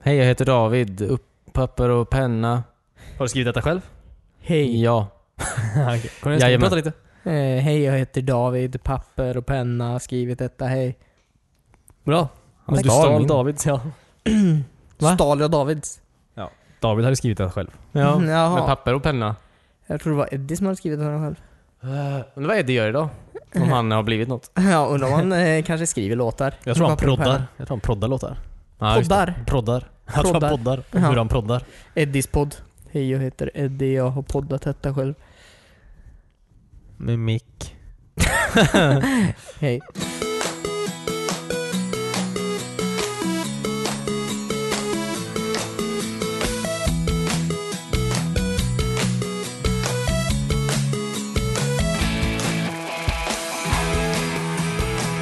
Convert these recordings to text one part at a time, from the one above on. Hej, jag heter David. Upp papper och penna. Har du skrivit detta själv? Hej. Ja. Okej. Cornelius, ska vi Jajamän. prata lite? Eh, hej, jag heter David. Papper och penna. Skrivit detta, hej. Bra. Men Tack. du Stal stal min. Davids, ja. Va? Stal jag Davids? David hade skrivit det själv. ja. Mm, jaha. Med papper och penna. Jag tror det var Eddie som hade skrivit den själv. Uh, undrar vad Eddie gör idag? Om han har blivit något. Ja, undrar om han eh, kanske skriver låtar. Jag tror han Papper och proddar. penna. Jag tror han proddar låtar. Ja, just det. Poddar. Proddar. Jag tror han Proddar. poddar. Ja. Hur han proddar. Eddies podd. Hej, jag heter Eddie. Jag har poddat detta själv. Med mick. Hej.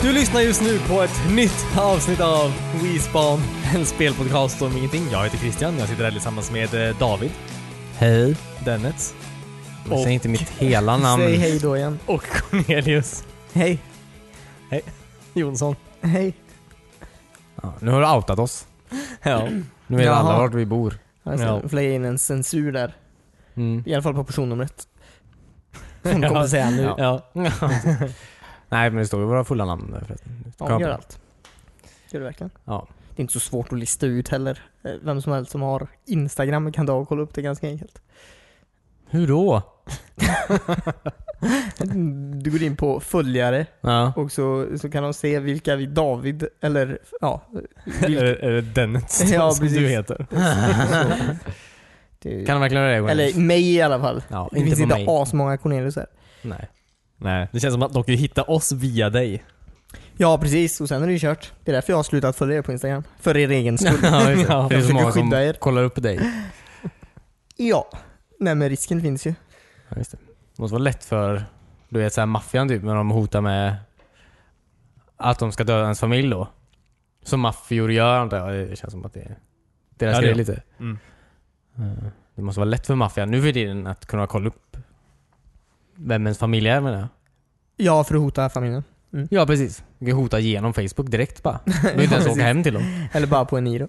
Du lyssnar just nu på ett nytt avsnitt av WeSpawn. En spelpodcast om ingenting. Jag heter Christian. Jag sitter här tillsammans med eh, David. Hej. Dennets. Men Säg inte mitt hela Säg namn. hej då igen. Och Cornelius Hej. Jonsson. Hej. Ja, nu har du outat oss. Ja. Nu vet Jaha. alla vart vi bor. Jag ska Ja. flagga in en censur där. Mm. I alla fall på personnumret. Hon kommer säga nu. Ja. ja. Nej, men det står ju våra fulla namn där förresten. Ja, Kan hon gör jag- allt. Gör det verkligen. Ja. Det är inte så svårt att lista ut heller. Eh, Vem som helst som har Instagram kan då kolla upp det ganska enkelt. Hur då? Du går in på följare Ja. och så, så kan de se vilka vi David, eller ja, Eller vilka, eller Dennets Ja, som du precis. heter. det, Kan de verkligen göra det? Cornelius? eller mig i alla fall. ja, Det inte finns på inte mig. asmånga Cornelius här. Nej. Nej. Det känns som att de kan ju hitta oss via dig. Ja precis, och sen är det ju kört. Det är därför jag har slutat följa er på Instagram. För er egen skull. ja, just det. Ja, det är jag så många försöker skydda som er. kollar upp dig. ja. Nej men risken finns ju. Ja, just det. det måste vara lätt för, du vet såhär maffian typ, när de hotar med att de ska döda ens familj då. Som maffior gör antar jag. Det känns som att det är deras Ja, det grej är. lite. Mm. Eh, Det måste vara lätt för maffian nu för tiden att kunna kolla upp vem ens familj är menar jag. Ja, för att hota familjen. Ja precis. Du kan hota genom Facebook direkt bara. Du behöver inte ens Ja, åka precis. hem till dem. Eller bara på en Niro.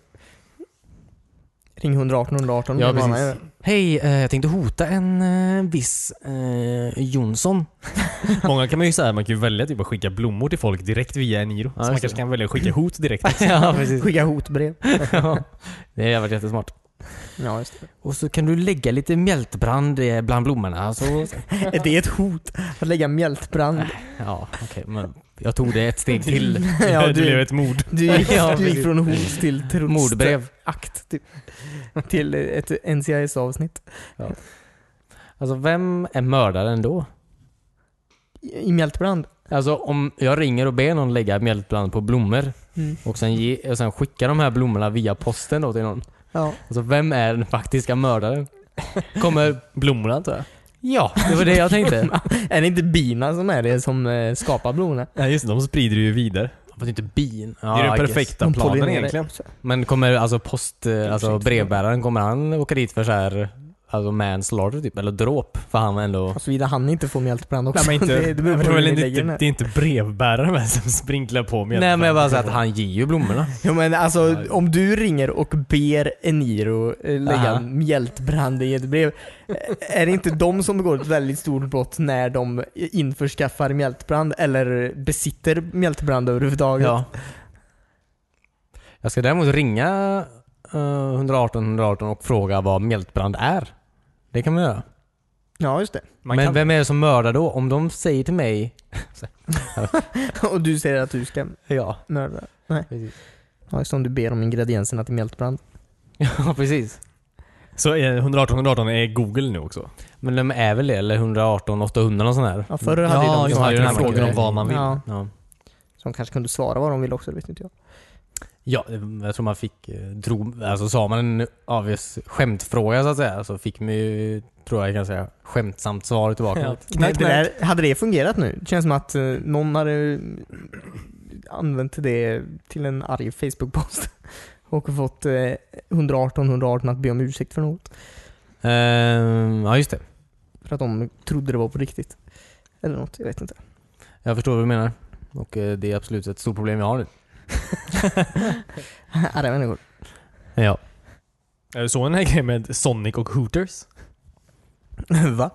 Ring 118 118. Ja, Det var precis. Hej, eh, jag tänkte hota en eh, viss eh, Jonsson. Många kan man ju säga, man kan ju välja typ att skicka blommor till folk direkt via Eniro. så just man det. kanske kan välja att skicka hot direkt. ja en- precis. Skicka hotbrev. Ja. Det har varit jättesmart. Ja, just det. Och så kan du lägga lite mjältbrand eh, bland blommorna. Så... Är det ett hot? Att lägga mjältbrand? Ja, okej. men jag tog det ett steg till. Ja, det blev du, ett mord. du, gick, Ja, du gick precis. från hot till trots- Mordbrev. Akt, typ. Till ett NCIS-avsnitt. Alltså, vem är mördaren då? I i mjältbrand. Alltså om jag ringer och ber någon lägga mjältbrand på blommor Mm. och sen, ge, och sen skicka de här blommorna via posten då till någon. Ja. Alltså vem är den faktiska mördaren? Kommer... Blommorna antar jag. Ja, det var det jag tänkte. Är det inte bina som är det som eh, skapar blommorna? Ja, just det, de sprider ju vidare. Fast inte bin. Ja, det är I den guess. perfekta De planen pollinerar. egentligen. Men kommer alltså post, eh, alltså Ursäkta. brevbäraren, kommer han åka dit för så här, alltså manslaughter typ? Eller dråp? För han ändå... Och såvida han inte får mjältbrand också. Nej, men inte, det, det beror på hur väl vi inte, lägger den här. det är inte brevbäraren väl som sprinklar på med Nej men jag bara säger att han ger ju blommorna. Ja, men alltså om du ringer och ber Eniro eh, lägga Aha. mjältbrand i ett brev, eh, är det inte de som begår ett väldigt stort brott när de införskaffar mjältbrand eller besitter mjältbrand överhuvudtaget? Ja. Jag ska däremot ringa eh, 118 118 och fråga vad mjältbrand är. Det kan man göra. ja just det. Man men kan, vem är det som mördar då? Om de säger till mig... Och du säger att du ska Ja, mörda. Nej, precis. ja, just det, om du ber om ingredienserna till mjältbrand. Ja, precis. Så är 118 118 är Google nu också? Men de är väl det? Eller 118 800 och sån här? Ja, förr hade ju Ja, de just som det, man hade den här kunde frågan fråga om vad man vill. Ja, Ja. som kanske kunde svara vad de vill också, det vet inte jag. Ja, jag tror man fick, eh, drog, alltså sa man en obvious skämtfråga så att säga så fick man ju, tror jag kan säga, skämtsamt svar tillbaka. Ja. det där, hade det fungerat nu? Det känns som att eh, någon hade eh, använt det till en arg Facebook-post och fått eh, 118 118 att be om ursäkt för något. Ehm, ja, just det. För att de trodde det var på riktigt. Eller något, jag vet inte. Jag förstår vad du menar. Och eh, det är absolut ett stort problem jag har nu. Arga människor. Ja. Är det Eh, så den här grejen med Sonic och Hooters? Va?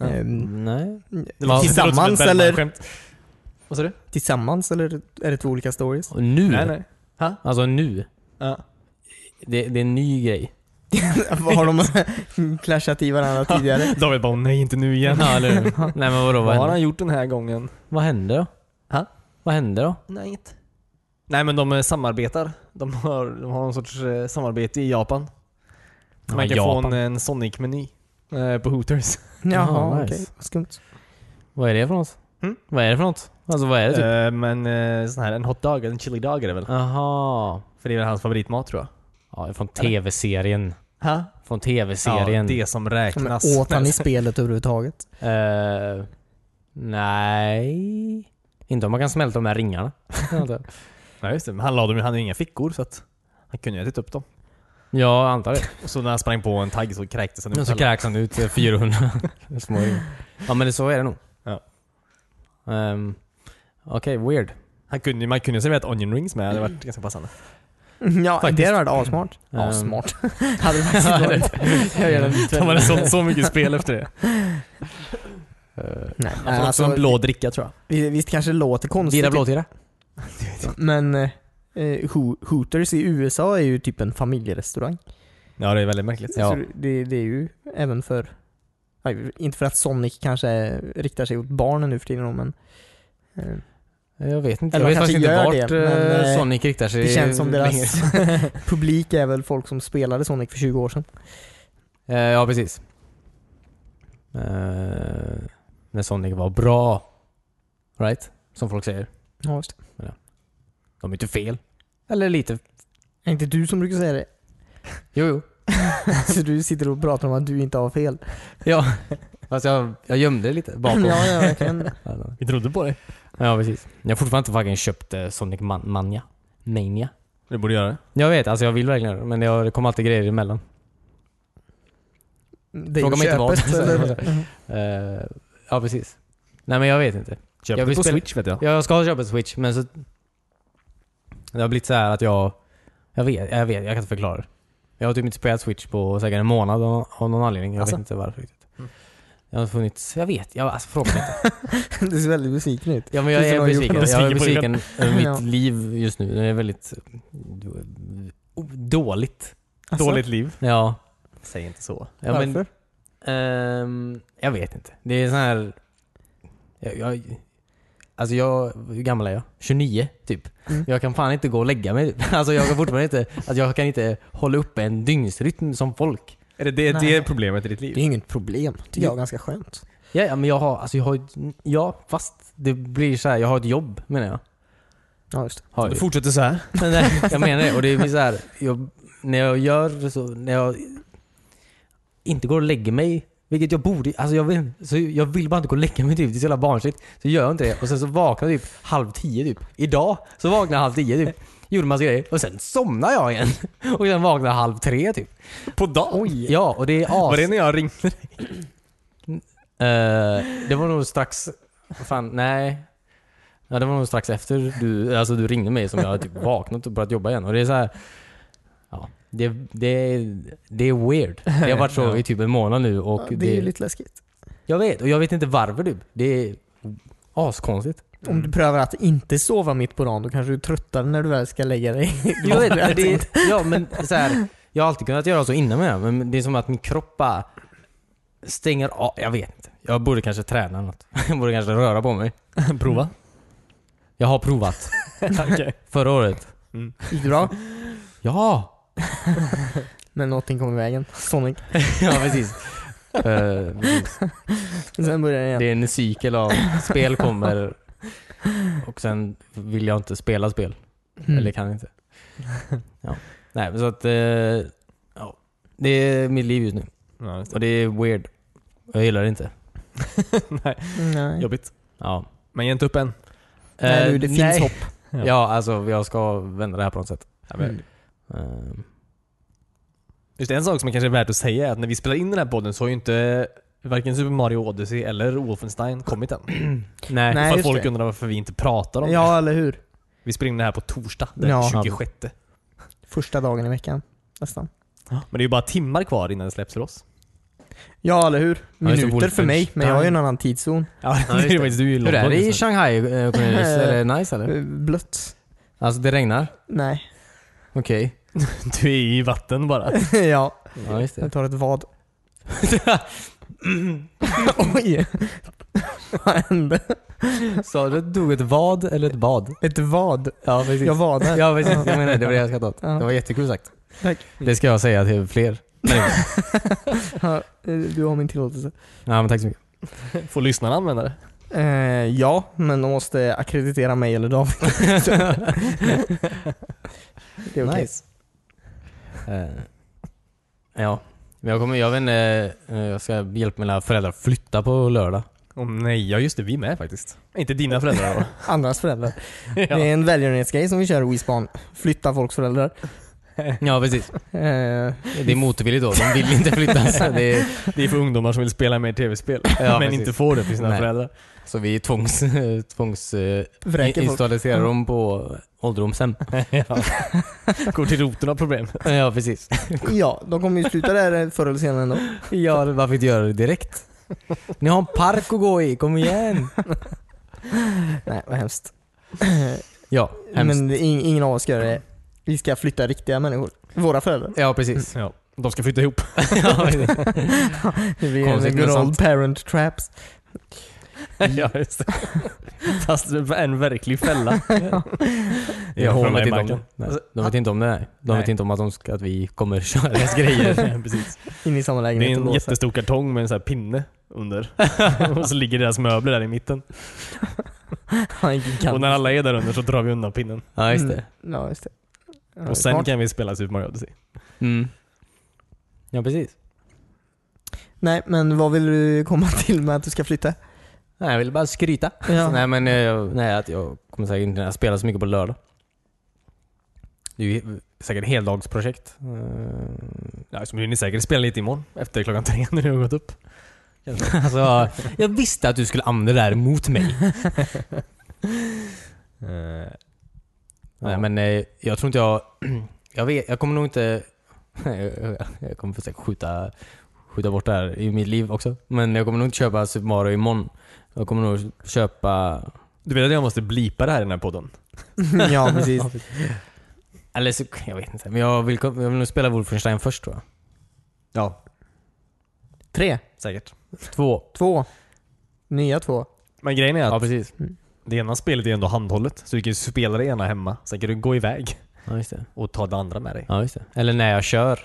Ehm, Nej. Det låter- det låter som ett Tillsammans, Bellman-skämt. Vad sa du? tillsammans eller är det två olika stories? Och nu? Nej, nej. Alltså nu. Ja. Det, det är en ny grej. Vad har de clashat i varandra tidigare? David bara nej inte nu igen. Ja, eller hur? Nej men vadå, vad Vad har händer, han gjort den här gången? vad händer då? Ha? Vad händer då? Nej inte. Nej men de eh, samarbetar. De har, de har någon sorts eh, samarbete i Japan. Ja, Man kan få Japan. en, en Sonic-meny eh, på Hooters. Jaha, Jaha, nice. okej. Vad skumt. Vad är det för något? Mm? Vad är det för något? Alltså vad är det typ? Eh, men eh, sån här, en hotdog, en chili-dog är det väl? Jaha. För det är väl hans favoritmat tror jag. Ja, det är från tv-serien. Ha? Från Ja, tv-serien. det som Ja, men räknas. Åt han i spelet överhuvudtaget? Eh, nej. Inte om man kan smälta de här ringarna. Nej just det, men han la dem ju- han hade ju inga fickor så att han kunde ju ha ätit upp dem. Jag antar det. Och så när han sprang på en tagg så kräktes han Men ut så alla. kräks han ut eh, 400 små ringar. Ja men det, så är det nog. Ja. Ehm, Okej, weird. han kunde, ju- Man kunde ju serverat onion rings med, det hade varit ganska passande. Mm, Ja, Faktiskt. det hade varit asmart. Mm. Ehm. Assmart. hade det faktiskt varit. Jag gör en De hade sålt så mycket spel efter det. Nej, Han nej, får också en alltså, blå dricka tror jag. vi- visst kanske det låter konstigt. Dira blåtira. Men eh, eh, Ho- Hooters i USA är ju typ en familjerestaurang. Ja det är väldigt märkligt. Ja. Så det, det är ju även för... nej, Inte för att Sonic kanske eh, riktar sig åt barnen nu för tiden men... eh, Jag vet inte. Eller jag vet de faktiskt inte kanske vart gör det, eh, men, eh, Sonic riktar sig. Det känns som längre. deras publik är väl folk som spelade Sonic för 20 år sedan. Eh, ja, precis. Eh, när Sonic var bra. Right? Som folk säger. Ja, just det. De är inte fel. Eller lite. Är inte du som brukar säga det? Jo, jo. Så du sitter och pratar om att du inte har fel. Ja. Fast jag, jag gömde det lite bakom. Ja, ja, verkligen. Vi trodde på dig. ja, precis. Jag har fortfarande inte fucking köpt eh, Sonic Man- Mania. Mania. Du borde göra det. Jag vet, alltså jag vill verkligen det, men det har- det kommer alltid grejer emellan. Det är Fråga ju mig inte vad. köpet, eller? Eh, ja, precis. Nej men jag vet inte. Köp Jag det vill på spela- Switch vet jag. Ja, jag ska köpa en switch men så... Det har blivit så här att jag... Jag vet, jag vet, jag kan inte förklara det. Jag har typ inte spelat switch på säkert en månad av, av någon anledning. Jag Alltså? vet inte varför riktigt. Mm. Jag har funnits... Jag vet, jag alltså, fråga mig inte. Du ser väldigt besviken ut. Ja men jag Tusen är har gjort besviken. något. Jag är Besviken på besviken över mitt Ja. liv just nu. Det är väldigt... eh, Dåligt. Alltså, Dåligt liv. Ja. Säg inte så. ja men- Varför? Ehm, jag vet inte. Det är sån här... Jag, jag, alltså jag... Hur gammal är jag? 29 typ. Mm. Jag kan fan inte gå och lägga mig. typ. Alltså jag kan fortfarande inte... Alltså jag kan inte hålla uppe en dygnsrytm som folk. Är det det, Nej. det är problemet i ditt Det är liv? inget problem. Tycker jag är ganska skönt. Ja, ja men jag har... Alltså jag har... ett- Ja, fast det blir så här. Jag har ett jobb menar jag. Ja, just det. Har Du jag. ju. fortsätter så här. Men nej, jag menar det. Och det blir så här, jag, när jag gör så, när jag inte går och lägger mig, vilket jag borde, alltså jag vill, så jag vill bara inte gå och lägga mig typ, det är så jävla barnsligt. Så gör jag inte det. Och sen så vaknar jag typ halv tio typ. Idag så vaknade jag halv tio typ. Gjorde massa grejer och sen somnar jag igen. Och sen vaknar jag halv tre typ. På dagen? Ja, och det är as... Var det när jag ringde? Eh, det var nog strax... Fan, nej. Ja, det var nog strax efter du, alltså du ringde mig som jag hade typ vaknat och börjat jobba igen. Och det är så här, ja, det, det, det är weird. Det har varit så Ja. i typ en månad nu och Ja, det, det är ju lite läskigt. Jag vet, och jag vet inte varför typ. Det är askonstigt. Om du prövar att inte sova mitt på dagen, då kanske du tröttar när du väl ska lägga dig. Jag vet, men det, ja, men så här, jag har alltid kunnat göra så innan med det, men det är som att min kropp bara stänger av. Jag vet inte. Jag borde kanske träna något. Jag borde kanske röra på mig. Prova. Jag har provat Okej. förra året. Gick det bra? Ja! Men någonting kom i vägen. Sonic. ja, precis. Eh, precis. Sen börjar den igen. det är en cykel av spel kommer och sen vill jag inte spela spel. Mm. Eller kan inte. Ja. Nej, men så att... eh, ja. Det är mitt liv just nu. Ja, just Och det är weird. Jag gillar det inte. det. Nej. Nej. Jobbigt. Ja. Men ge inte upp än. Nej, Eh, du, det finns nej. hopp. Ja, alltså jag ska vända det här på något sätt. Mm. Eh, Just en sak som kanske är värt att säga är att när vi spelar in den här podden så har ju inte varken Super Mario Odyssey eller Wolfenstein kommit än. nej. Nej. Ifall just folk det. undrar varför vi inte pratar om det. Ja, eller hur? Vi spelar in det här på torsdag den Ja. 26. Första dagen i veckan. Nästan. Ja. Men det är ju bara timmar kvar innan det släpps för oss. Ja, eller hur? Ja, just det, Minuter för mig, men jag har ju en annan tidszon. Ja, just det är det. faktiskt, du liksom. är Hur ju långt är bort det i just nu. Shanghai eh, Cornelius? är det nice eller? Eh, Blött. Alltså det regnar? Nej. Okej. Du är i vatten bara. ja, Ja just det. jag tar ett vad. Oj! Vad hände? Sa du att du tog ett vad eller ett bad? Ett vad. Ja precis. Jag vadar. Ja precis, jag menar det. Det var det jag skrattade åt. Ja. Det var jättekul sagt. Tack. Det ska jag säga till fler. Ja, eh, du har min tillåtelse. Ja men tack så mycket. Får lyssnarna använda det? Eh, ja, men de måste akkreditera mig eller David. Det är okej. Nice. Eh, ja. Men jag kommer, jag vet inte, eh, jag ska hjälpa mina föräldrar flytta på lördag. Åh nej, ja just det, vi med faktiskt. Inte dina föräldrar då? Andras föräldrar. ja. Det är en välgörenhetsgrej som vi kör i WeSpan. Flytta folks föräldrar. Ja precis. Eh, Det är motvilligt då. De vill inte flytta. Så, det är, Det är för ungdomar som vill spela med tv-spel, Ja, men precis. inte får det för sina Nej. föräldrar. så vi tvångs, tvångs eh, vräker folk. installerar dem på ålderdomshem. ja. Går till roten av problemet. Ja precis. Ja, de kommer ju sluta där eh, förr eller senare ändå. Ja, varför inte göra det direkt? Ni har en park att gå i, kom igen! Nej, vad hemskt. Ja, hemskt. Men det är ing- ingen av oss ska göra det. Vi ska flytta riktiga människor. Våra föräldrar. Ja precis. Ja. De ska flytta ihop. Ja, precis. Det blir Konstigt, men en good sant. old parent traps. ja, just det. Fast det är en verklig fälla. Jag från de vet mig, inte om Michael. det. Nej, De vet inte om det. Nej. De vet Nej. inte om att, de ska, att vi kommer köra deras grejer. Precis. In i samma Det är lägenhet och en låsa. jättestor kartong med en sån här pinne under. och så ligger deras möbler där i mitten. Ja, ingen kan. Och när alla är där under så drar vi undan pinnen. Ja, just det. Mm. Ja, just det. Ja, det är Och sen smart. kan vi spela Super Mario Odyssey. Mm. Ja, precis. Nej, men vad vill du komma till med att du ska flytta? Nej, jag ville bara skryta. Ja. Nej, men eh, jag- nej, att jag kommer säkert inte att spela så mycket på lördag. Det är ju säkert ett heldagsprojekt. Eh, Ja, så blir ni säkert spela lite imorgon. Efter klockan tre när ni har gått upp. Alltså, jag visste att du skulle använda det här mot mig. Eh, Nej, Ja. men eh, jag tror inte jag... Jag, vet, jag kommer nog inte... jag kommer försöka skjuta, skjuta bort det här i mitt liv också. Men jag kommer nog inte köpa Super Mario imorgon. Jag kommer nog köpa... Du vet att jag måste blipa det här i den här podden? Mm, ja, precis. Eller så, jag vet inte. Men jag vill, jag vill nog spela Wolfenstein först tror jag. Ja. Tre, Säkert. Två. två, nya två. Men grejen är att Ja, precis. det ena spelet är ändå handhållet. Så du kan ju spela det ena hemma. Sen kan du gå iväg Ja, just det. och ta det andra med dig. Ja, just det. Eller när jag kör.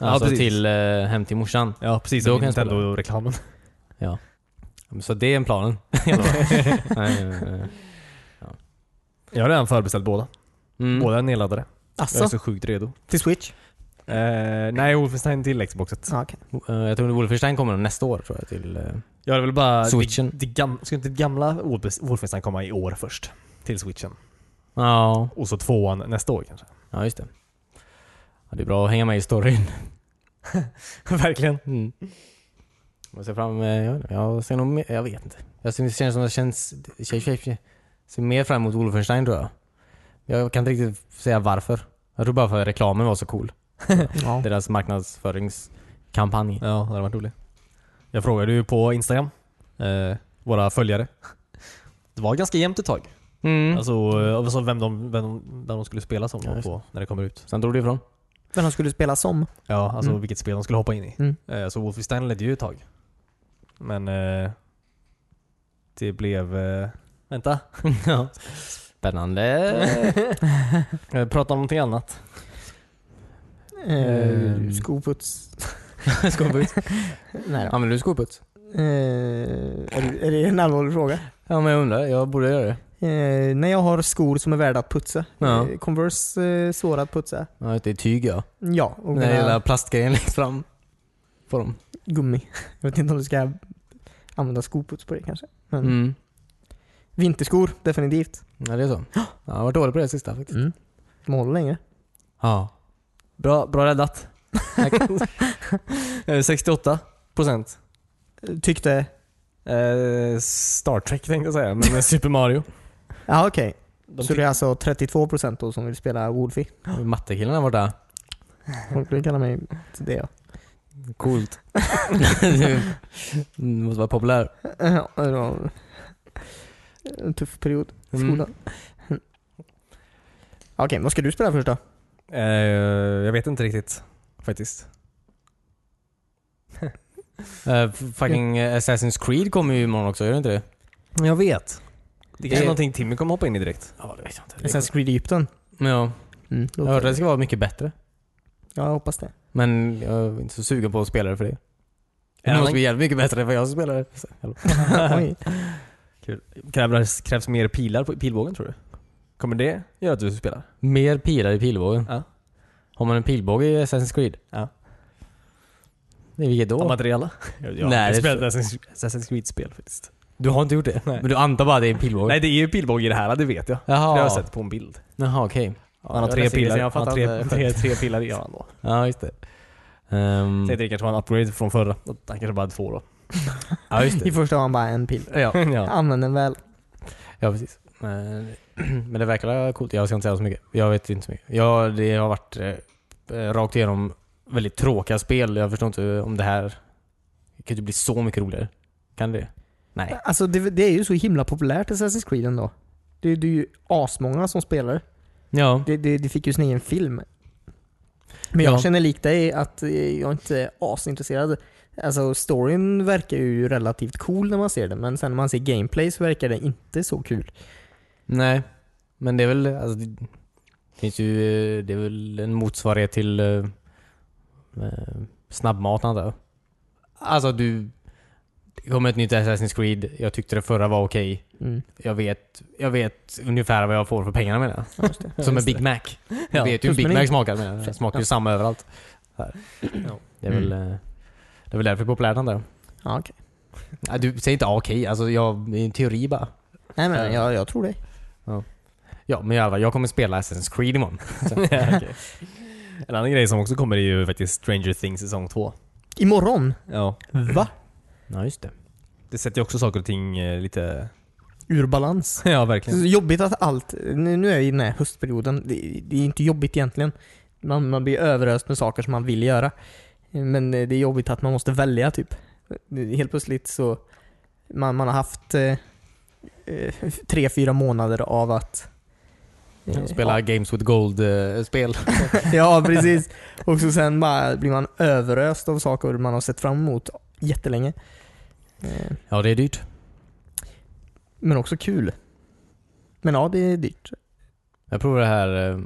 Ja, Alltså precis. till, eh, hem till morsan. Ja, precis. Då Då kan kan jag spela. Nintendo-reklamen. Så det är en planen. Nej, nej, nej. Jag har redan förbeställt båda. Mm. Båda är nedladdade. Jag är Asså? så sjukt redo. Till Switch? Eh, nej, Wolfenstein till Xboxet. Ja, okej. Eh, Jag tror Wolfenstein kommer nästa år tror jag till... eh, Jag vill bara... Switchen. Det, det gam, ska inte det gamla Wolf- Wolfenstein komma i år först? Till switchen. Ja. Och så tvåan nästa år kanske. Ja, just det. Ja, det är bra att hänga med i storyn. Verkligen. Mm. Jag ser fram eh, jag, vet inte, jag ser nog mer, jag vet inte. Jag ser, det känns som att jag känns, tjej, tjej, tjej, ser mer fram emot Wolfenstein tror jag. Jag kan inte riktigt säga varför. Jag tror bara för att reklamen var så cool. Ja. Deras marknadsföringskampanj. Ja, det hade varit roligt. Jag frågade ju på Instagram, eh, våra följare. Det var ganska jämnt ett tag. Mm. Alltså, eh, alltså vem, de, vem, de, vem de skulle spela som Ja, just på, när det kommer ut. Sen drog det ifrån. Men han skulle spela som? Ja, alltså Mm. vilket spel de skulle hoppa in i. Mm. Eh, så Wolfenstein ledde ju ett tag. Men eh, det blev... Eh, vänta. ja. Spännande. Jag pratar om någonting annat. Eh, Ehm. skoputs? Skoputs. Nej då. Använder du skoputs? Eh, är, det- är det en allvarlig fråga? Ja men jag undrar, jag borde göra det. Eh, när jag har skor som är värda att putsa. Ja. Eh, Converse eh, svåra att putsa. Ja, det är tyg ja. Ja, och Den där mina lilla plastgrejen längst fram. På dem. gummi. Jag vet inte om du ska använda skoputs på det kanske. Men Mm. Vinterskor, definitivt. Ja det är så. Ja, jag har varit dålig på det sista faktiskt. Mm. De håller länge. Ja. Bra, bra räddat. Eh, 68 procent. Tyckte... Eh, Star Trek tänkte jag säga, men Super Mario. Ja okej. De Så det är alltså 32% då som vill spela Wolfie. Mattekillen här borta. Folk brukar kalla mig till det. Coolt. du mm, måste vara populär. Ja, det var en tuff period i Mm. skolan. Okej, vad ska du spela först då? Eh, jag vet inte riktigt faktiskt. Eh, f- fucking eh, Assassin's Creed kommer ju imorgon också, gör det inte det? Jag vet. Det kanske Det- är någonting Timmy kommer hoppa in i direkt. Ja, det vet jag inte. Assassin's Creed Egypten? Ja, Mm, jag hörde att det ska vara mycket bättre. Ja, jag hoppas det. Men jag är inte så sugen på att spela det för det. Det annan- måste bli jävligt mycket bättre än vad jag spelade. Så, hallå. Oj. Krävs, krävs mer pilar på pilbågen tror du? Kommer det göra att du spelar? Mer pilar i pilbågen. Ja. Har man en pilbåge i Assassin's Creed? Ja. I vilket då? Av materiella? Jag, jag Nej, har det- spelat Assassin's Assassin's Creed-spel faktiskt. Du har inte gjort det? Nej. Men du antar bara att det är en pilbåge? Nej, det är ju pilbåge i det här, det vet jag. Det Jaha. har jag sett på en bild. Jaha, okej. han har jag tre läste det, pilar, så jag han har fattar tre, inte. tre, tre pilar i har han då. Ja, just det. Ehm, Säg att det kanske var en upgrade från förra. Han kanske bara hade två då. ja, just I det. första var han bara en pil. Ja, ja. Använd den väl. ja precis. Men, men det verkar vara coolt. Jag ska inte säga så mycket. Jag vet inte så mycket. Ja, det har varit eh, rakt igenom väldigt tråkiga spel. Jag förstår inte om det här det kan ju inte bli så mycket roligare. Kan det Nej. Alltså det, det är ju så himla populärt Assassin's Creed ändå. Det, det är ju asmånga som spelar Ja. det. Det, det fick ju sin egen film. Men Ja. jag känner likt dig att eh, jag är inte är asintresserad. Alltså storyn verkar ju relativt cool när man ser den men sen när man ser gameplay så verkar det inte så kul. Nej. Men det är väl, alltså, det finns ju, eh, det är väl en motsvarighet till eh, eh, snabbmat antar jag. Alltså du, det kommer ett nytt Assassin's Creed. Jag tyckte det förra var okej. Mm. Jag vet, jag vet ungefär vad jag får för pengarna menar Ja, just det. jag. Som en Big Mac. Jag Ja, vet ju hur plus Big menyn. Mac smakar menar jag. Den smakar ju Ja. samma överallt. Så här. Det, är Mm. väl, eh, det är väl därför det är populärt antar jag. Ja, okej. Ja, Du säger inte ah, okej, alltså jag, det är en teori bara. Nej men jag, jag tror det. Ja men i alla fall, jag kommer spela Assassin's Creed imorgon. Ja, okej. En annan grej som också kommer är ju faktiskt Stranger Things säsong två. Imorgon? Ja. Va? Ja just det. Det sätter ju också saker och ting eh, lite... Ur balans. Ja, Det är verkligen. så jobbigt att allt, nu, nu är vi i den här höstperioden, det, det är inte jobbigt egentligen. Man, man blir överöst med saker som man vill göra. Men eh, det är jobbigt att man måste välja typ. Det- Helt plötsligt så, man, man har haft eh, eh, tre, fyra månader av att eh, Spela Games with eh, Gold-spel. Ja, precis. Och så sen bara blir man överöst av saker man har sett fram emot jättelänge. Eh, ja det är dyrt. Men också kul. Men ja, det är dyrt. Jag provar det här... eh,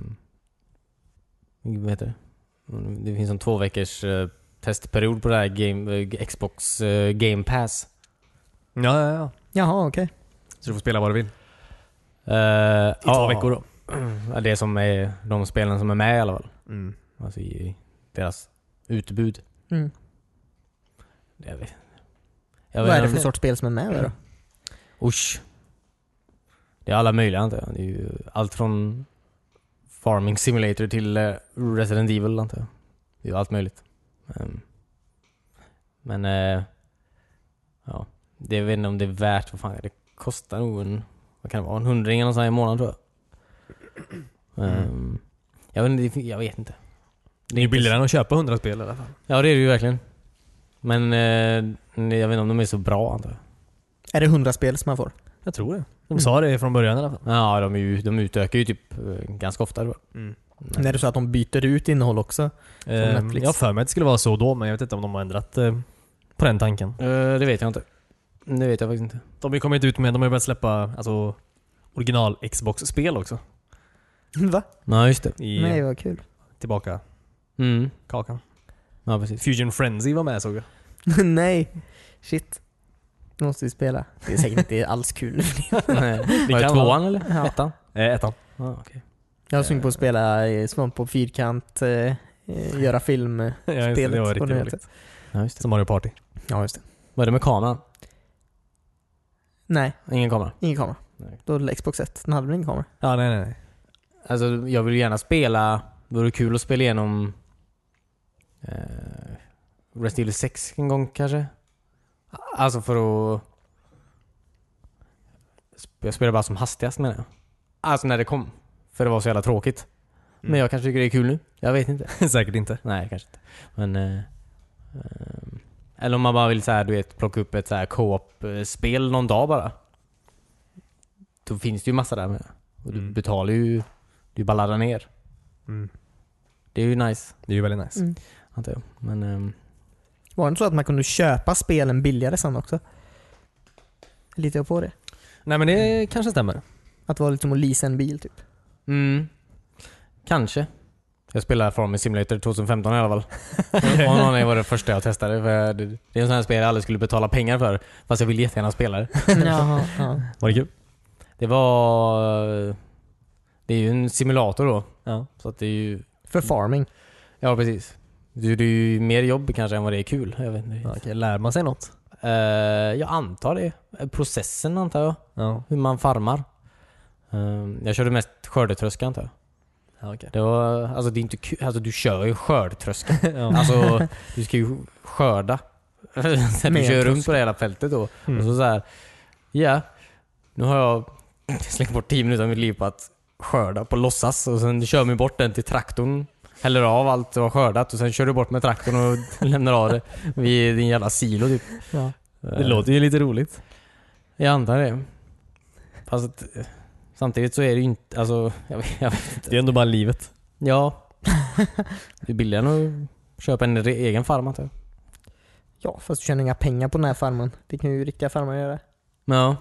Vad heter det? Det finns en två veckors eh, testperiod på det här game, eh, Xbox eh, Game Pass. Ja, ja, ja. Jaha, okej. Så du får spela vad du vill. I Eh, två veckor då. Ja, Det som är de spelen som är med i alla fall. Mm. Alltså i deras utbud. Mm. Jag vet. Jag Vad är det inte för om- sorts spel som är med där då? Usch. Det är alla möjliga antar jag. Det är ju allt från Farming Simulator till eh, Resident Evil antar jag. Det är ju allt möjligt. Ehm, Men, eh, ja. Det, jag vet inte om det är värt, vad fan, det kostar nog en, vad kan det vara, en hundring eller nåt sånt här i månaden tror jag. Ehm, jag, vet inte, det- jag vet inte. Det är ju billigare än att köpa 100 spel i alla fall. Ja det är det ju verkligen. Men eh, jag vet inte om de är så bra antar jag. Är det 100 spel som man får? Jag tror det. De Mm. sa det från början i alla fall. Ja, de, är ju, de utökar ju typ eh, ganska ofta tror jag. Mm. Men är det så att de byter ut innehåll också? Ehm, Netflix. jag har för mig att det skulle vara så då, men jag vet inte om de har ändrat eh, på den tanken. Eh, det vet jag inte. Det vet jag faktiskt inte. De har ju kommit ut med, de har ju börjat släppa alltså, original Xbox-spel också. Va? Ja, just det. I Nej, vad kul. tillbaka Mm. kakan. Ja, precis. Fusion Frenzy var med såg jag. Nej. Shit. Nu måste vi spela. Det är säkert inte alls kul. Nej. Var det kan tvåan eller? Ja. Ettan? Eh, ettan. Ja, okej. Jag har sugen på att spela eh, Svamp på fyrkant, eh, eh, göra film. eh, Ja, just det, Spelet, det var vad riktigt det roligt. Ja, just det. Som Mario Party. Ja, just det. Vad är det med kameran? Nej, Ingen kamera? ingen kamera. Nej. Då hade Xbox 1, den hade väl ingen kamera? Ja, nej, nej, nej. Alltså, jag vill ju gärna spela... Det vore kul att spela igenom... Eh, Resident Evil 6 en gång kanske? Alltså för att... Jag spelade bara som hastigast menar jag. Alltså när det kom. För det var så jävla tråkigt. Men jag kanske tycker det är kul nu. Jag vet inte. Säkert inte. Nej, kanske inte. Men... Eh, ehm, eller om man bara vill så här, du vet, plocka upp ett så här co-op-spel någon dag bara. Då finns det ju massa där med. Och du Mm. betalar ju... Du bara laddar ner. Mm. Det är ju nice, Det är ju väldigt nice. Mm. antar jag. Men... ehm, Var det inte så att man kunde köpa spelen billigare sen också? Litar jag på det? Nej men det kanske stämmer. Att det var lite som att leasa en bil typ. Mm. Kanske. Jag spelade Farming Simulator 2015 i alla fall. Och någon var det första jag testade. För det det är en sån här spel jag aldrig skulle betala pengar för. Fast jag vill jättegärna spela det. Jaha, ja. Var det kul? Det var... eh, Det är ju en simulator då. Ja. Så att det är ju... För farming. Ja, precis. Det det är ju mer jobb kanske än vad det är kul. Jag vet inte. Okej, lär man sig något? Eh, jag antar det. Eh, Processen antar jag. Ja. Hur man farmar. Eh, jag körde mest skördetröska antar jag. ja okej. Det var, alltså det är inte kul. Alltså du kör ju skördetröska. ja. Alltså, du ska ju skörda. Så att du Med kör runt tusk. på det hela fältet då. Mm. Och så så här, ja, nu har jag slängt bort 10 minuter av mitt liv på att skörda på låtsas och sen kör man bort den till traktorn. Häller av allt du har skördat och sen kör du bort med traktorn och lämnar av det vid din jävla silo typ. Ja. Det låter ju lite roligt. Jag antar det. Fast att, eh, samtidigt så är det ju inte, alltså, jag vet, jag vet Det inte. är ändå bara livet. Ja. Det är billigare än att köpa en re- egen farm antar jag. ja, fast du tjänar inga pengar på den här farmen. Det kan ju riktiga farmare göra. Ja.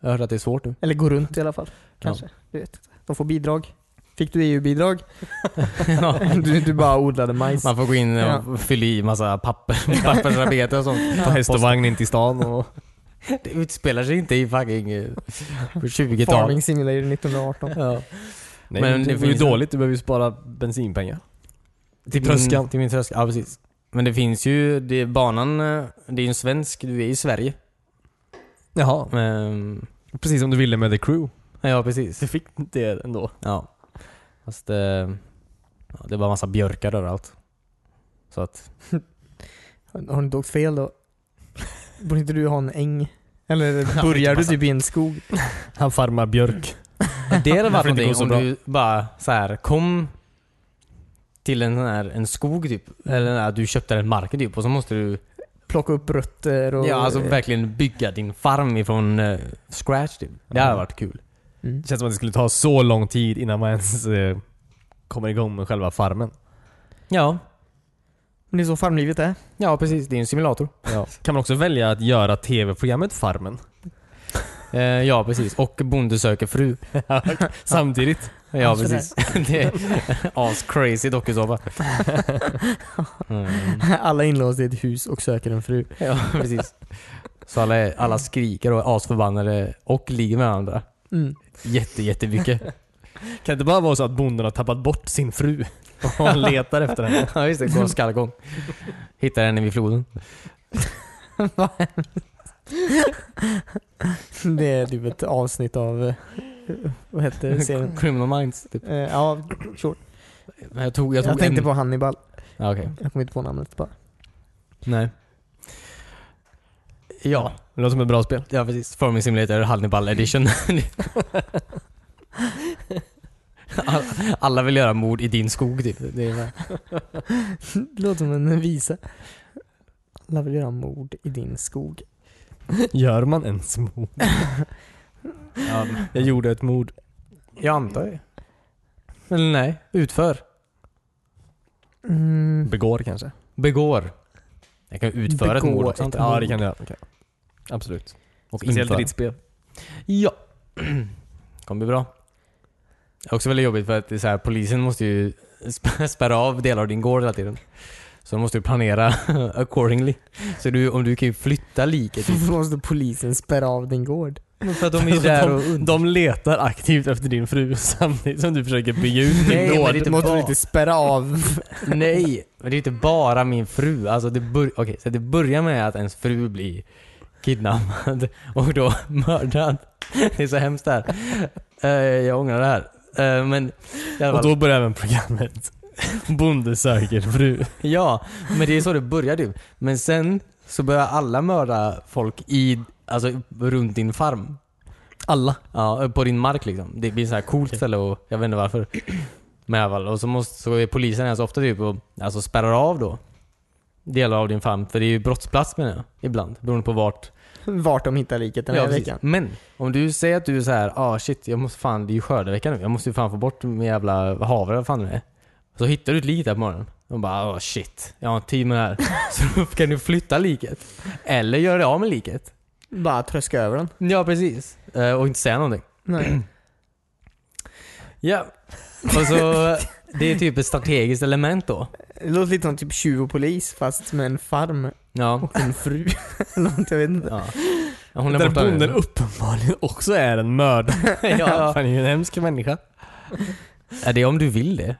Jag hörde att det är svårt nu. Eller gå runt i alla fall. Kanske. Du vet inte. De får bidrag. Fick du EU-bidrag? Ja. Du, du bara odlade majs. Man får gå in och Ja. fylla i massa papper, pappersarbete och sånt. Ta häst och vagn in till stan och... Det utspelar sig inte i fucking eh, på 20-talet. Farming Simulator 1918. Ja. Nej, Men det men det, är ju finns- dåligt, du behöver ju spara bensinpengar. Till tröskan. Min, till min tröskan, ja precis. Men det finns ju, det, banan, eh, det är ju en svensk, du är i Sverige. Jaha. Ehm, Precis som du ville med The Crew. ja precis. Du fick det ändå. Ja. Fast eh, ja, det var massa björkar överallt. Så att, Har du inte åkt fel då? Borde inte du ha en äng? Eller börjar du typ i en skog? Han farmar björk. det hade varit Varför inte gå någonting så om bra? du bara så här kom till en sån här, en skog typ. Eller att du köpte den marken typ och så måste du Plocka upp rötter och... Ja, alltså verkligen bygga din farm ifrån eh, scratch typ. Det hade Ja. varit kul. Mm. Det känns som att det skulle ta så lång tid innan man ens eh, kommer igång med själva farmen. Ja. Men det är så farmlivet är. Ja, precis. Det är en simulator. Kan man också välja att göra tv-programmet Farmen? Eh, ja, precis. Och Bonde söker fru. Samtidigt. Ja, Varför precis. Alltså Det är as-crazy dokusåpa. Mm. Alla inlåsta i ett hus och söker en fru. Ja, precis. Så alla, är- alla skriker och är asförbannade och ligger med varandra. Mm. Jätte, jättemycket. Kan det inte bara vara så att bonden har tappat bort sin fru? Och han letar efter henne? Ja, just det. Går en skallgång. Hittar henne vid floden. Det är typ ett avsnitt av... eh, Vad heter serien? Criminal Minds, typ. Eh, Ja, sure. Men Jag tog, jag Jag, tog tänkte en... på Hannibal. Ja, okej. Jag kommer inte på namnet bara. Nej. Ja. Det låter som ett bra spel. Ja precis, Farming Simulator Hannibal edition. Alla- Alla vill göra mord i din skog typ. Det är Det låter som en visa. Alla vill göra mord i din skog. Gör man ens mord? ja, Jag gjorde ett mord. jag antar det. Eller nej, utför. Mm. Begår kanske? Begår. Jag kan utföra ett Begår mord också. ett antar jag. Ja, det kan du göra. Okej. Absolut. Och Speciellt i införa. ditt spel. Ja. kommer bli bra. Det är också väldigt jobbigt för att det är så här, polisen måste ju sp- spärra av delar av din gård hela tiden. Så de måste ju planera accordingly. Så du, om du kan ju flytta liket. typ. Varför måste polisen spärra av din gård? För att de är ju där och und- De letar aktivt efter din fru samtidigt som du försöker bygga ut Nej, din men gård. det är inte måste bra. du inte spärra av? Nej, men det är inte bara min fru. Alltså det, bör, okej, så det börjar med att ens fru blir kidnappad och då mördad. Det är så hemskt det här. Eh, jag ångrar det här. Eh, men i alla Och fall, då börjar även programmet. Bonde söker fru. ja, men det är så det börjar du. Men sen så börjar alla mörda folk i, alltså runt din farm. Alla. Ja, på din mark liksom. Det blir så här coolt ställe och jag vet inte varför. Men i alla fall, och så, måste, så är polisen här så ofta typ och alltså spärrar av då delar av din famn. För det är ju brottsplats menar jag, ibland. Beroende på vart Vart de hittar liket den här precis. veckan. Men om du säger att du är så här, ah shit, jag måste fan, det är ju skördevecka nu. Jag måste ju fan få bort min jävla havre, vad fan det är. Så hittar du ett lik där på morgonen. De bara, ah shit, jag har inte tid med det här. så då kan du flytta liket. Eller göra dig av med liket. Bara tröska över den. Ja, precis. Eh, Och inte säga någonting. Mm. Nej. Ja. Och så, det är typ ett strategiskt element då. Det låter lite som typ tjuv och polis fast med en farm Ja. och en fru. Eller något, jag vet inte. ja. Hon är Där borta nu. bonden uppenbarligen också är en mördare. ja. Han är ju en hemsk människa. ja, det är om du vill det.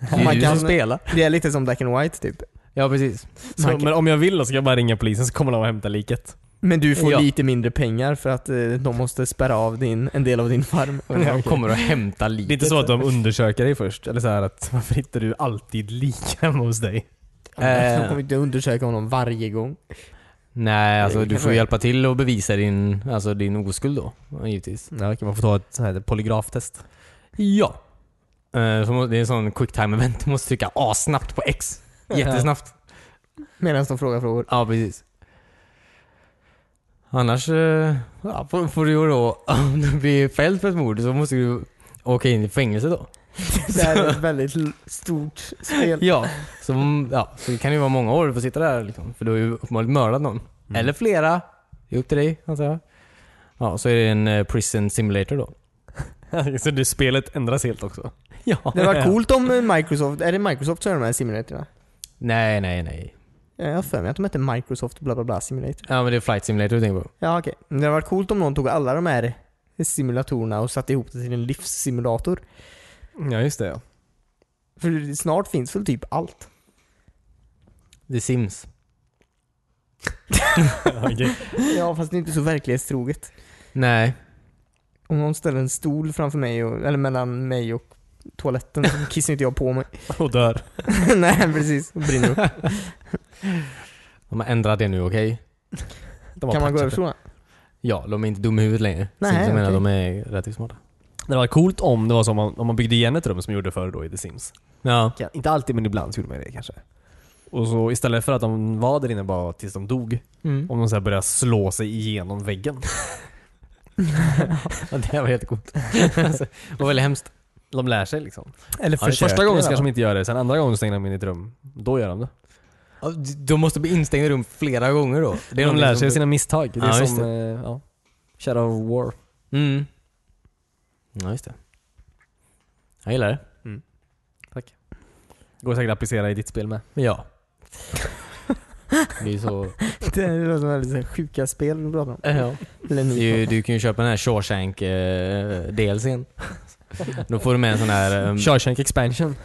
Det är Man du kan- som spelar. Det är lite som Black and White typ. Ja, precis. Så, Man kan- men om jag vill då ska jag bara ringa polisen så kommer de och hämtar liket. Men du får Ja. lite mindre pengar för att eh, de måste spärra av din, en del av din farm. Och de kommer och hämtar liket. Det är inte så att de undersöker dig först? Eller så här att varför hittar du alltid lik hemma hos dig? De kommer inte undersöka honom varje gång. Nej, alltså Det du kanske får är- hjälpa till och bevisa din, alltså, din oskuld då, givetvis. Ja, kan man få ta ett sånt här polygraftest? Ja. Eh, så må- Det är en sån quick time event, du måste trycka A snabbt på X. Jättesnabbt. Medan de frågar frågor. Ja, precis. Annars eh, ja, får, får du ju då, om du blir fälld för ett mord så måste du åka in i fängelse då. Det här är ett väldigt l- stort spel. Ja, så, ja, så det kan ju vara många år du får sitta där liksom, för du har ju uppenbarligen mördat någon. Eller flera. Det är upp till dig, antar jag. Ja, så är det en eh, prison simulator då. så det spelet ändras helt också? Ja. Det var coolt om eh, Microsoft, är det Microsoft som gör de här simulatorerna? Nej, nej, nej. Eh, Jag har för mig att de heter Microsoft bla bla bla simulator. Ja men det är flight simulator du tänker på. Ja okej. Men Det hade varit coolt om någon tog alla de här simulatorerna och satte ihop det till en livssimulator. Ja, just det ja. För snart finns väl typ allt. The Sims. Okej. Ja fast det är inte så verklighetstroget. Nej. Om någon ställer en stol framför mig, och, eller mellan mig och toaletten, så kissar inte jag på mig. Och dör. Nej precis, och brinner upp. De har ändrat det nu, okej? De har Kan man gå patchat över det. från Ja, de är inte dumma i huvudet längre. Nej, Sims, jag menar, okej. de är relativt smarta. Det var coolt om det var som om man, om man byggde igen ett rum som man gjorde förr då i The Sims. Ja. Ja, inte alltid men ibland så gjorde man det kanske. Och så istället för att de var där inne bara tills de dog, Mm. om de så här började slå sig igenom väggen. ja det var helt coolt. alltså, det var väldigt hemskt. De lär sig liksom. Eller Ja, första gången kanske de inte gör det, sen andra gången stänger de in i ett rum. Då gör de det. Ja, d- De måste bli instängda i rum flera gånger då. Det Det de någonting lär som sig av du- sina misstag. Det är Ja, just som eh, ja, Shadow of War. Mm. Ja, just det. Jag gillar det. Går säkert att applicera i ditt spel med. Men ja. det är ju så... Det låter som väldigt så här sjuka spel vi pratar om. Ja. Eller nu. Det är ju, du kan ju köpa den här Shawshank eh, delsen. Då får du med en sån här... ehm, Shawshank expansion.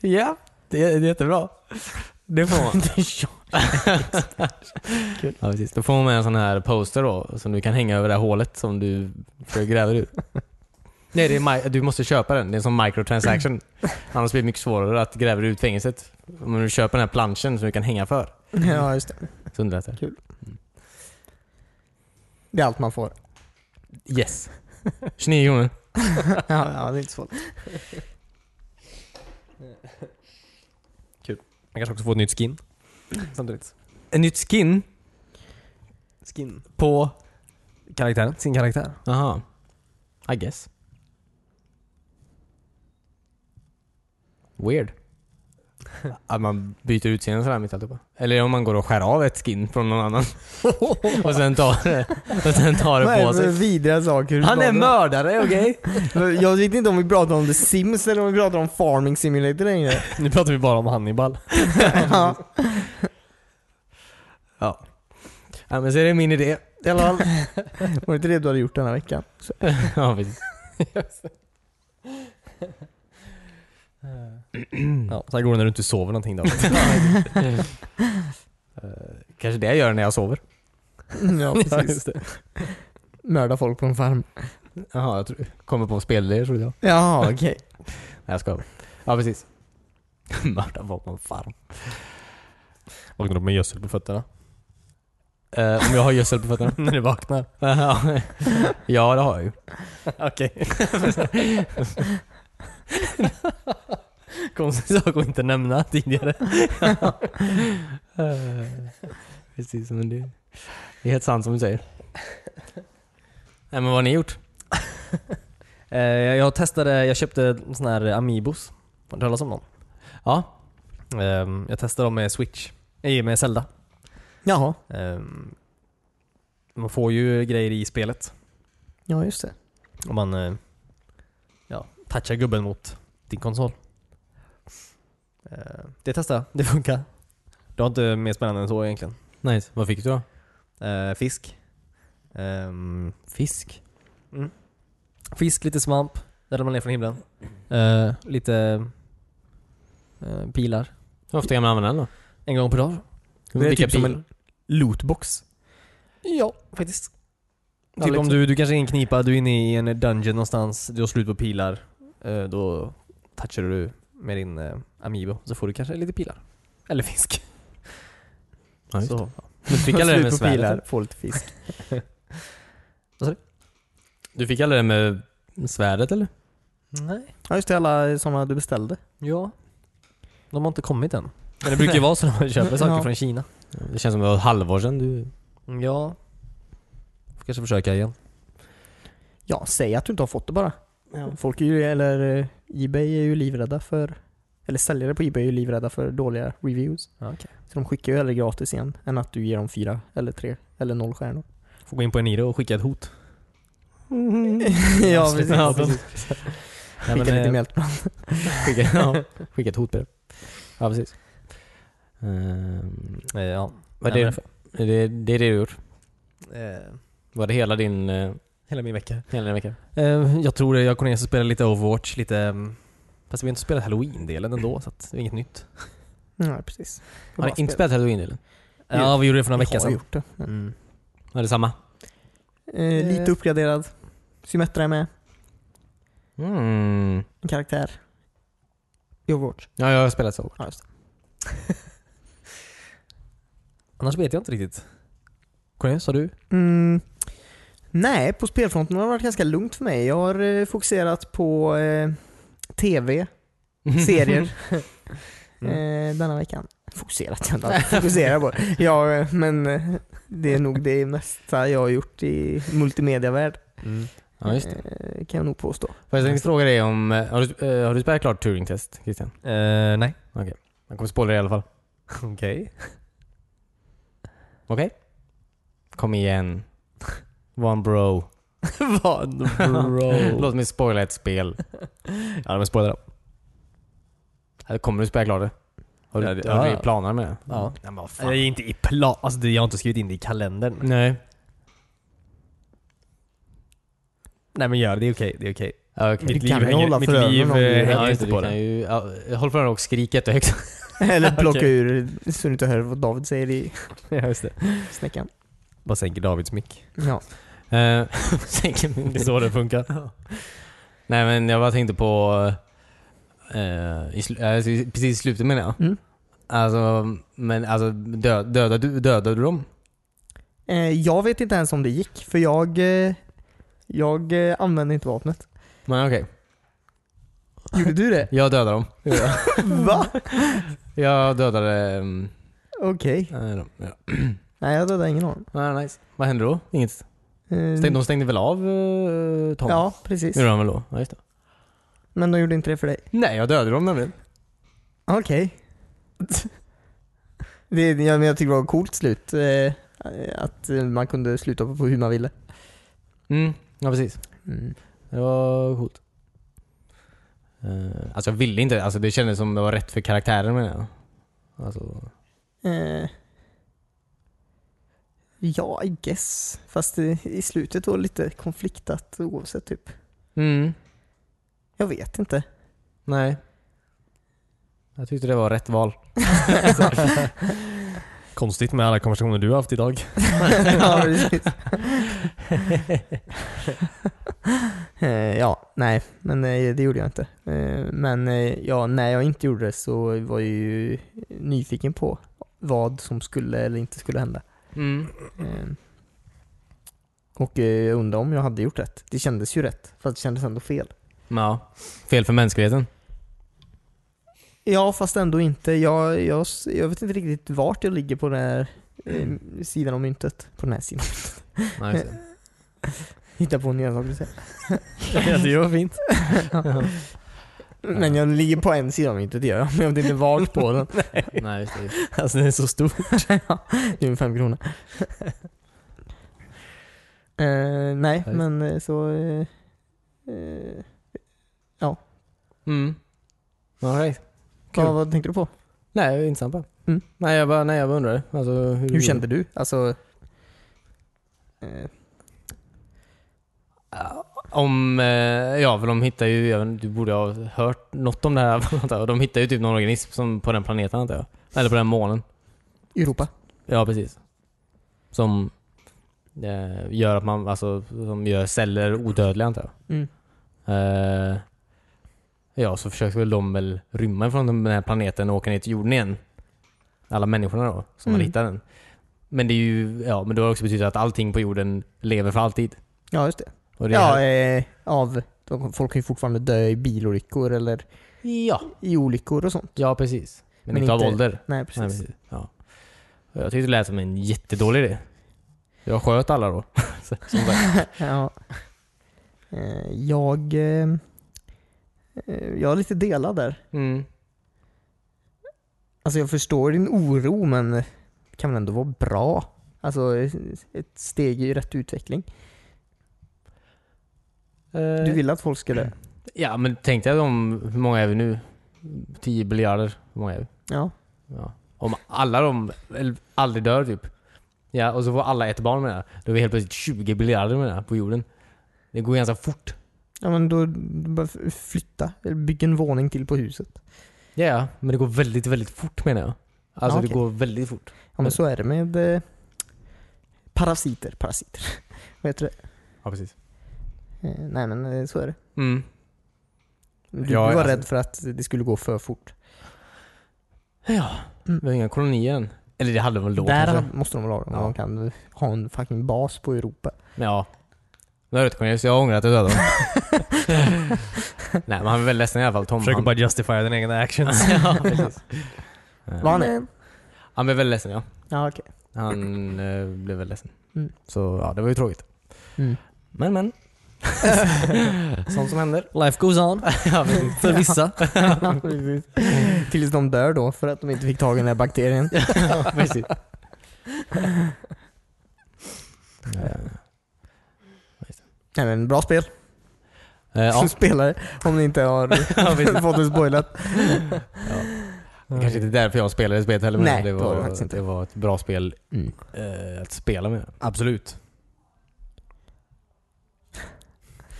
Ja, det är, det är jättebra. Det får man. ja, precis. Då får man med en sån här poster då, som du kan hänga över det här hålet som du försöker gräva ur. Nej, det är mi- du måste köpa den. Det är en sån microtransaction. Annars blir det mycket svårare att gräva dig ut fängelset. Om du köper den här planschen som du kan hänga för, Ja just det. så underlättar det. Det är allt man får. Yes. 29 kronor. Ja, ja det är inte svårt. Man kanske också får ett nytt skin. Samtidigt. En nytt skin Skin. på... Karaktären. Sin karaktär. Jaha. I guess. Weird. Att man byter utseende sådär mitt i alltihopa. Eller om man går och skär av ett skin från någon annan. och sen tar det, och sen tar Vad det är på det för sig. vidriga saker du Han är pratar om? mördare, okej? Jag vet inte om vi pratar om The Sims eller om vi pratar om Farming Simulator längre. Nu pratar vi bara om Hannibal. ja. Ja. ja. men så är det min idé. I alla fall. Var det inte det du hade gjort den här veckan? Så, ja, precis. Ja, så här går det när du inte sover någonting då. Eh, Kanske det jag gör när jag sover. ja, Ja, precis. just det. Mörda folk på en farm. Jaha, jag tror, kommer på spelidéer trodde jag. Ja, okej. Nej, jag skojar. Ja, precis. Mörda folk på en farm. Vaknar upp med gödsel på fötterna. Eh, om jag har gödsel på fötterna? när du vaknar. ja, det har jag ju. Okej. Konstig sak att inte nämna tidigare. Eh, Precis, men det det är helt sant som du säger. Nej men vad har ni gjort? Eh, jag testade, jag köpte såna här Amiibos. Har du talat om dem? Ja, Eh, jag testade dem med Switch. Nej, med Zelda. Jaha, Eh, man får ju grejer i spelet. ja just det. Om man eh, ja, touchar gubben mot din konsol. Eh, det testade jag. Det funkar. Det var inte mer spännande än så egentligen. nice. Vad fick du då? Eh, fisk. Ehm, Mm. Fisk? fisk, lite svamp. Där man ner från himlen. Eh, lite eh, pilar. Hur ofta kan man använda den då? En gång per dag. Det är Vilka typ som pilar? en lootbox. Ja, faktiskt. Ja, typ om liksom. du, du kanske är inknipad, du är inne i en dungeon någonstans, du har slut på pilar. eh, Då touchar du med din eh, Amiibo, så får du kanske lite pilar. Eller fisk. Ja, just det. så, ja. Du fick aldrig den med Slut på pilar, svärdet? Får lite fisk. Du fick aldrig den med svärdet eller? Nej. Ja just det, alla sådana du beställde. Ja. De har inte kommit än. Men det brukar ju vara så när man köper saker Ja. från Kina. Mm, Det känns som det var ett halvår sedan du... Ja. Får kanske försöka igen. Ja, säg att du inte har fått det bara. Folk är ju, eller eh, Ebay är ju livrädda för, eller säljare på Ebay är ju livrädda för dåliga reviews. Ja, okej. Så de skickar ju hellre gratis igen än att du ger dem fyra eller tre eller noll stjärnor. Får gå in på Eniro och skicka ett hot. Mm. ja, precis. Ja, Ja, precis. Nej, Skicka men, lite eh, mjältbrand. Skicka, ja, skicka ett hotbrev. Ja, precis. Ehm, eh, ja. vad Nej, är det, är det, det är det du gjort? Eh, Var det hela din, eh, hela min vecka. hela din vecka? Eh, jag tror det. Jag och Cornelius spelar lite Overwatch, lite... mm, Fast vi har inte spelat halloween-delen ändå, så att det är inget nytt. Ja, precis. Det Har bara ni inte spel. spelat halloween eller? Ja, vi gjorde det för några Vi veckor har sedan. gjort det. Mm. Var det samma? Eh, lite uppgraderad. Symmetra är med. Mm. En karaktär. I Overwatch. Ja, jag har spelat så. Ja, just det. Annars vet jag inte riktigt. Cornelius, har du? Mm. Nej, på spelfronten har det varit ganska lugnt för mig. Jag har eh, fokuserat på eh, TV, serier. Mm. eh, denna veckan. Fokuserat, jag har fokuserat på det. Ja, eh, men eh, det är nog det mesta jag har gjort i multimediavärld. Mm. Ja, just det. Eh, kan jag nog påstå. Får jag tänkte fråga dig om... eh, Har du, eh, har du spelat klart Turing Test, Christian? Eh, nej. Jag kommer spoila det i alla fall. Okej. Okej? Kom igen. One bro. Vad bro? Låt mig spoila ett spel. ja, men spoila då. Eller Kommer du spela klart det? Har du, Ja, det- har du ja. planer med det? Ja. Nej, men vad fan. Jag är inte i plan... Alltså, det- jag har inte skrivit in det i kalendern. Nej. Nej men gör det, det är okej. Det är okej. Ja, okej. Mitt Du kan liv ju hänger, hålla mitt för öronen liv om du- eh, Ja, hänger just inte det, på du kan det. ju, ja, håll för öronen och skrik jättehögt. Eller plocka Okej. ur så du inte hör vad David säger i Ja, just det. snäckan. Bara sänker Davids mick. Ja. Eh, sänker min- Det är så det funkar. Nej men jag bara tänkte på... eh, i slu- alltså, i- precis i slutet menar jag. Mm. Alltså, men alltså dö, dödade, du, dödade du dem? Eh, jag vet inte ens om det gick, för jag, eh, jag eh, använde inte vapnet. Men okej. Gjorde du det? Jag dödade dem. Mm. Va? Jag dödade... ehm, Okej. eh, dem. Ja. Nej, jag hade ingen aning. Ah, nice. Vad hände då? Inget? Eh, Stäng, de stängde väl av eh, Tom? ja, precis. Gjorde de väl då? Ja, just det. Men de gjorde inte det för dig. Nej, jag dödade dem nämligen. Okej. Det, jag, men jag tycker det var ett coolt slut. Eh, att eh, man kunde sluta på hur man ville. Mm. Mm, ja precis. Det var coolt. Eh, alltså jag ville inte, alltså det kändes som det var rätt för karaktären menar jag. Alltså, Eh, ja, I guess. Fast i, i slutet var det lite konfliktat oavsett typ. mm, Jag vet inte. nej. Jag tyckte det var rätt val. Konstigt med alla konversationer du har haft idag. ja, precis. Eh, ja, nej, men eh, det gjorde jag inte. Eh, Men eh, ja, när jag inte gjorde det så var jag ju nyfiken på vad som skulle eller inte skulle hända. Mm. Eh, Och eh, jag undrar om jag hade gjort rätt. Det kändes ju rätt, fast det kändes ändå fel. Ja. Fel för mänskligheten. Ja, fast ändå inte. Jag, jag, s- jag vet inte riktigt vart jag ligger på den här eh, sidan av myntet. På den här sidan. Nej, just det. Hitta på nya saker att säga. ja, det var fint. Men jag ligger på en sida av myntet, det gör jag. Men jag vet inte vart på den. Nej, just det. Alltså den är så stor. Det är en fem kronor. Eh, nej, Ja, just- men eh, så... eh, eh, Mm. All right. Kul. vad, vad tänkte du på? Nej, intressant bara. Mm. Nej, jag bara, nej, jag bara undrade. Alltså, hur, Hur kände du? Alltså... eh, Om, eh, ja för de hittar ju, jag vet inte, du borde ha hört något om det här antar jag. De hittar ju typ någon organism som, på den planeten antar jag. Eller på den månen. Europa? Ja, precis. Som eh, gör att man, alltså, som gör celler odödliga antar jag. Mm. Eh, ja, så försöker väl de väl rymma från den här planeten och åka ner till jorden igen. Alla människorna då, som Mm. har hittat den. Men det är ju, ja men det har också betytt att allting på jorden lever för alltid. Ja, just det. Och det Ja, här- eh, av... de- Folk kan ju fortfarande dö i bilolyckor eller ja. i olyckor och sånt. Ja, precis. Men, Men inte av inte- ålder. Nej, Nej, precis. precis. Ja. Och Jag tyckte det lät som en jättedålig idé. Jag sköt alla då. Så- som sagt. Ja. Eh, jag... Eh, eh, jag är lite delad där. Mm. Alltså jag förstår din oro men det kan väl ändå vara bra? Alltså ett steg i rätt utveckling. Du vill att folk ska dö? Ja, men tänk dig om, hur många är vi nu? 10 biljarder. Hur många är vi? Ja. Ja. Om alla de eller aldrig dör typ. Ja, och så får alla ett barn med det här. Då är vi helt plötsligt 20 biljarder med det här på jorden. Det går ganska fort. Ja men då du bara f- flytta, eller bygg en våning till på huset. Ja, ja, men det går väldigt, väldigt fort menar jag. Alltså Ja, okej. det går väldigt fort. Ja men så är det med eh, parasiter. Parasiter. Vad heter det? Ja, precis. Eh, nej men eh, så är det. Mm. Du, du Ja, var alltså- rädd för att det skulle gå för fort. Ja, vi har inga kolonier än. Eller det hade de väl då Där kanske. hade- måste de vara om Ja. de kan ha en fucking bas på Europa. Men ja. Nu har jag Cornelius, jag ångrar att jag dödade honom. Nej men han är väl ledsen i alla fall, Tom. Försöker han... bara justifiera den egna actions. ja, precis. Eh, Var han det? han blev väl ledsen ja. Ja okej. Han eh, blev väl ledsen. Mm. Så ja, det var ju tråkigt. Mm. Men men. Sånt som händer. Life goes on. ja, precis. För vissa. Ja, precis. Tills de dör då för att de inte fick tag i den här bakterien. ja, precis. Eh, Nej men bra spel. eh, ja. Som spelare. Om ni inte Ja, har visst. fått det spoilat. Det kanske inte är därför jag spelade spelet heller. men Nej, det det var det var, faktiskt inte. det var ett bra spel Mm. eh, att spela med. Absolut.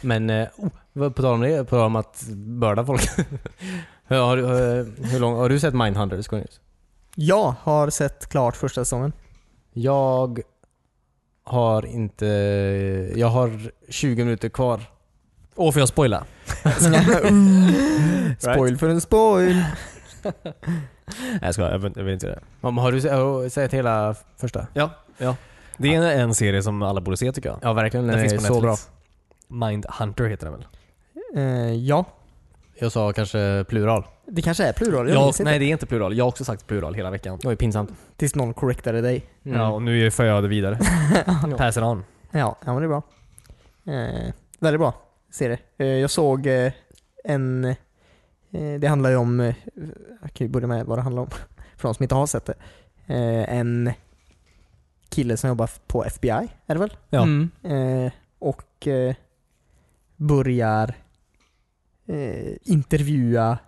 Men eh, oh, vad- på tal om det, på tal om att börda folk. hur, har, du, eh, hur lång, har du sett Mindhunters Cornelius? Jag har sett klart första säsongen. Jag har inte... Jag har 20 minuter kvar. Och får jag spoila? spoil för en spoil. Nej jag skojar, jag vill, jag vill inte göra det. Om, har du se- har du sett hela första? Ja. ja. Det är en, en serie som alla borde se tycker jag. Ja, verkligen. Den, Den är finns på så bra. Netflix. Mindhunter heter den väl? Eh, ja, Jag sa kanske plural. det kanske är plural. Jag Jag, minns nej inte. det är inte plural. Jag har också sagt plural hela veckan. Det var ju pinsamt. Tills någon correctade dig. Mm. Ja, och nu för jag det vidare. Ja. Pass it on. Ja, ja men det är bra. Eh, väldigt bra serie. Eh, jag såg eh, en... Eh, det handlar ju om... Eh, jag kan ju börja med vad det handlar om. För de som inte har sett det. Eh, en kille som jobbar på FBI, är det väl? Ja. Mm. Eh, och eh, börjar eh, intervjua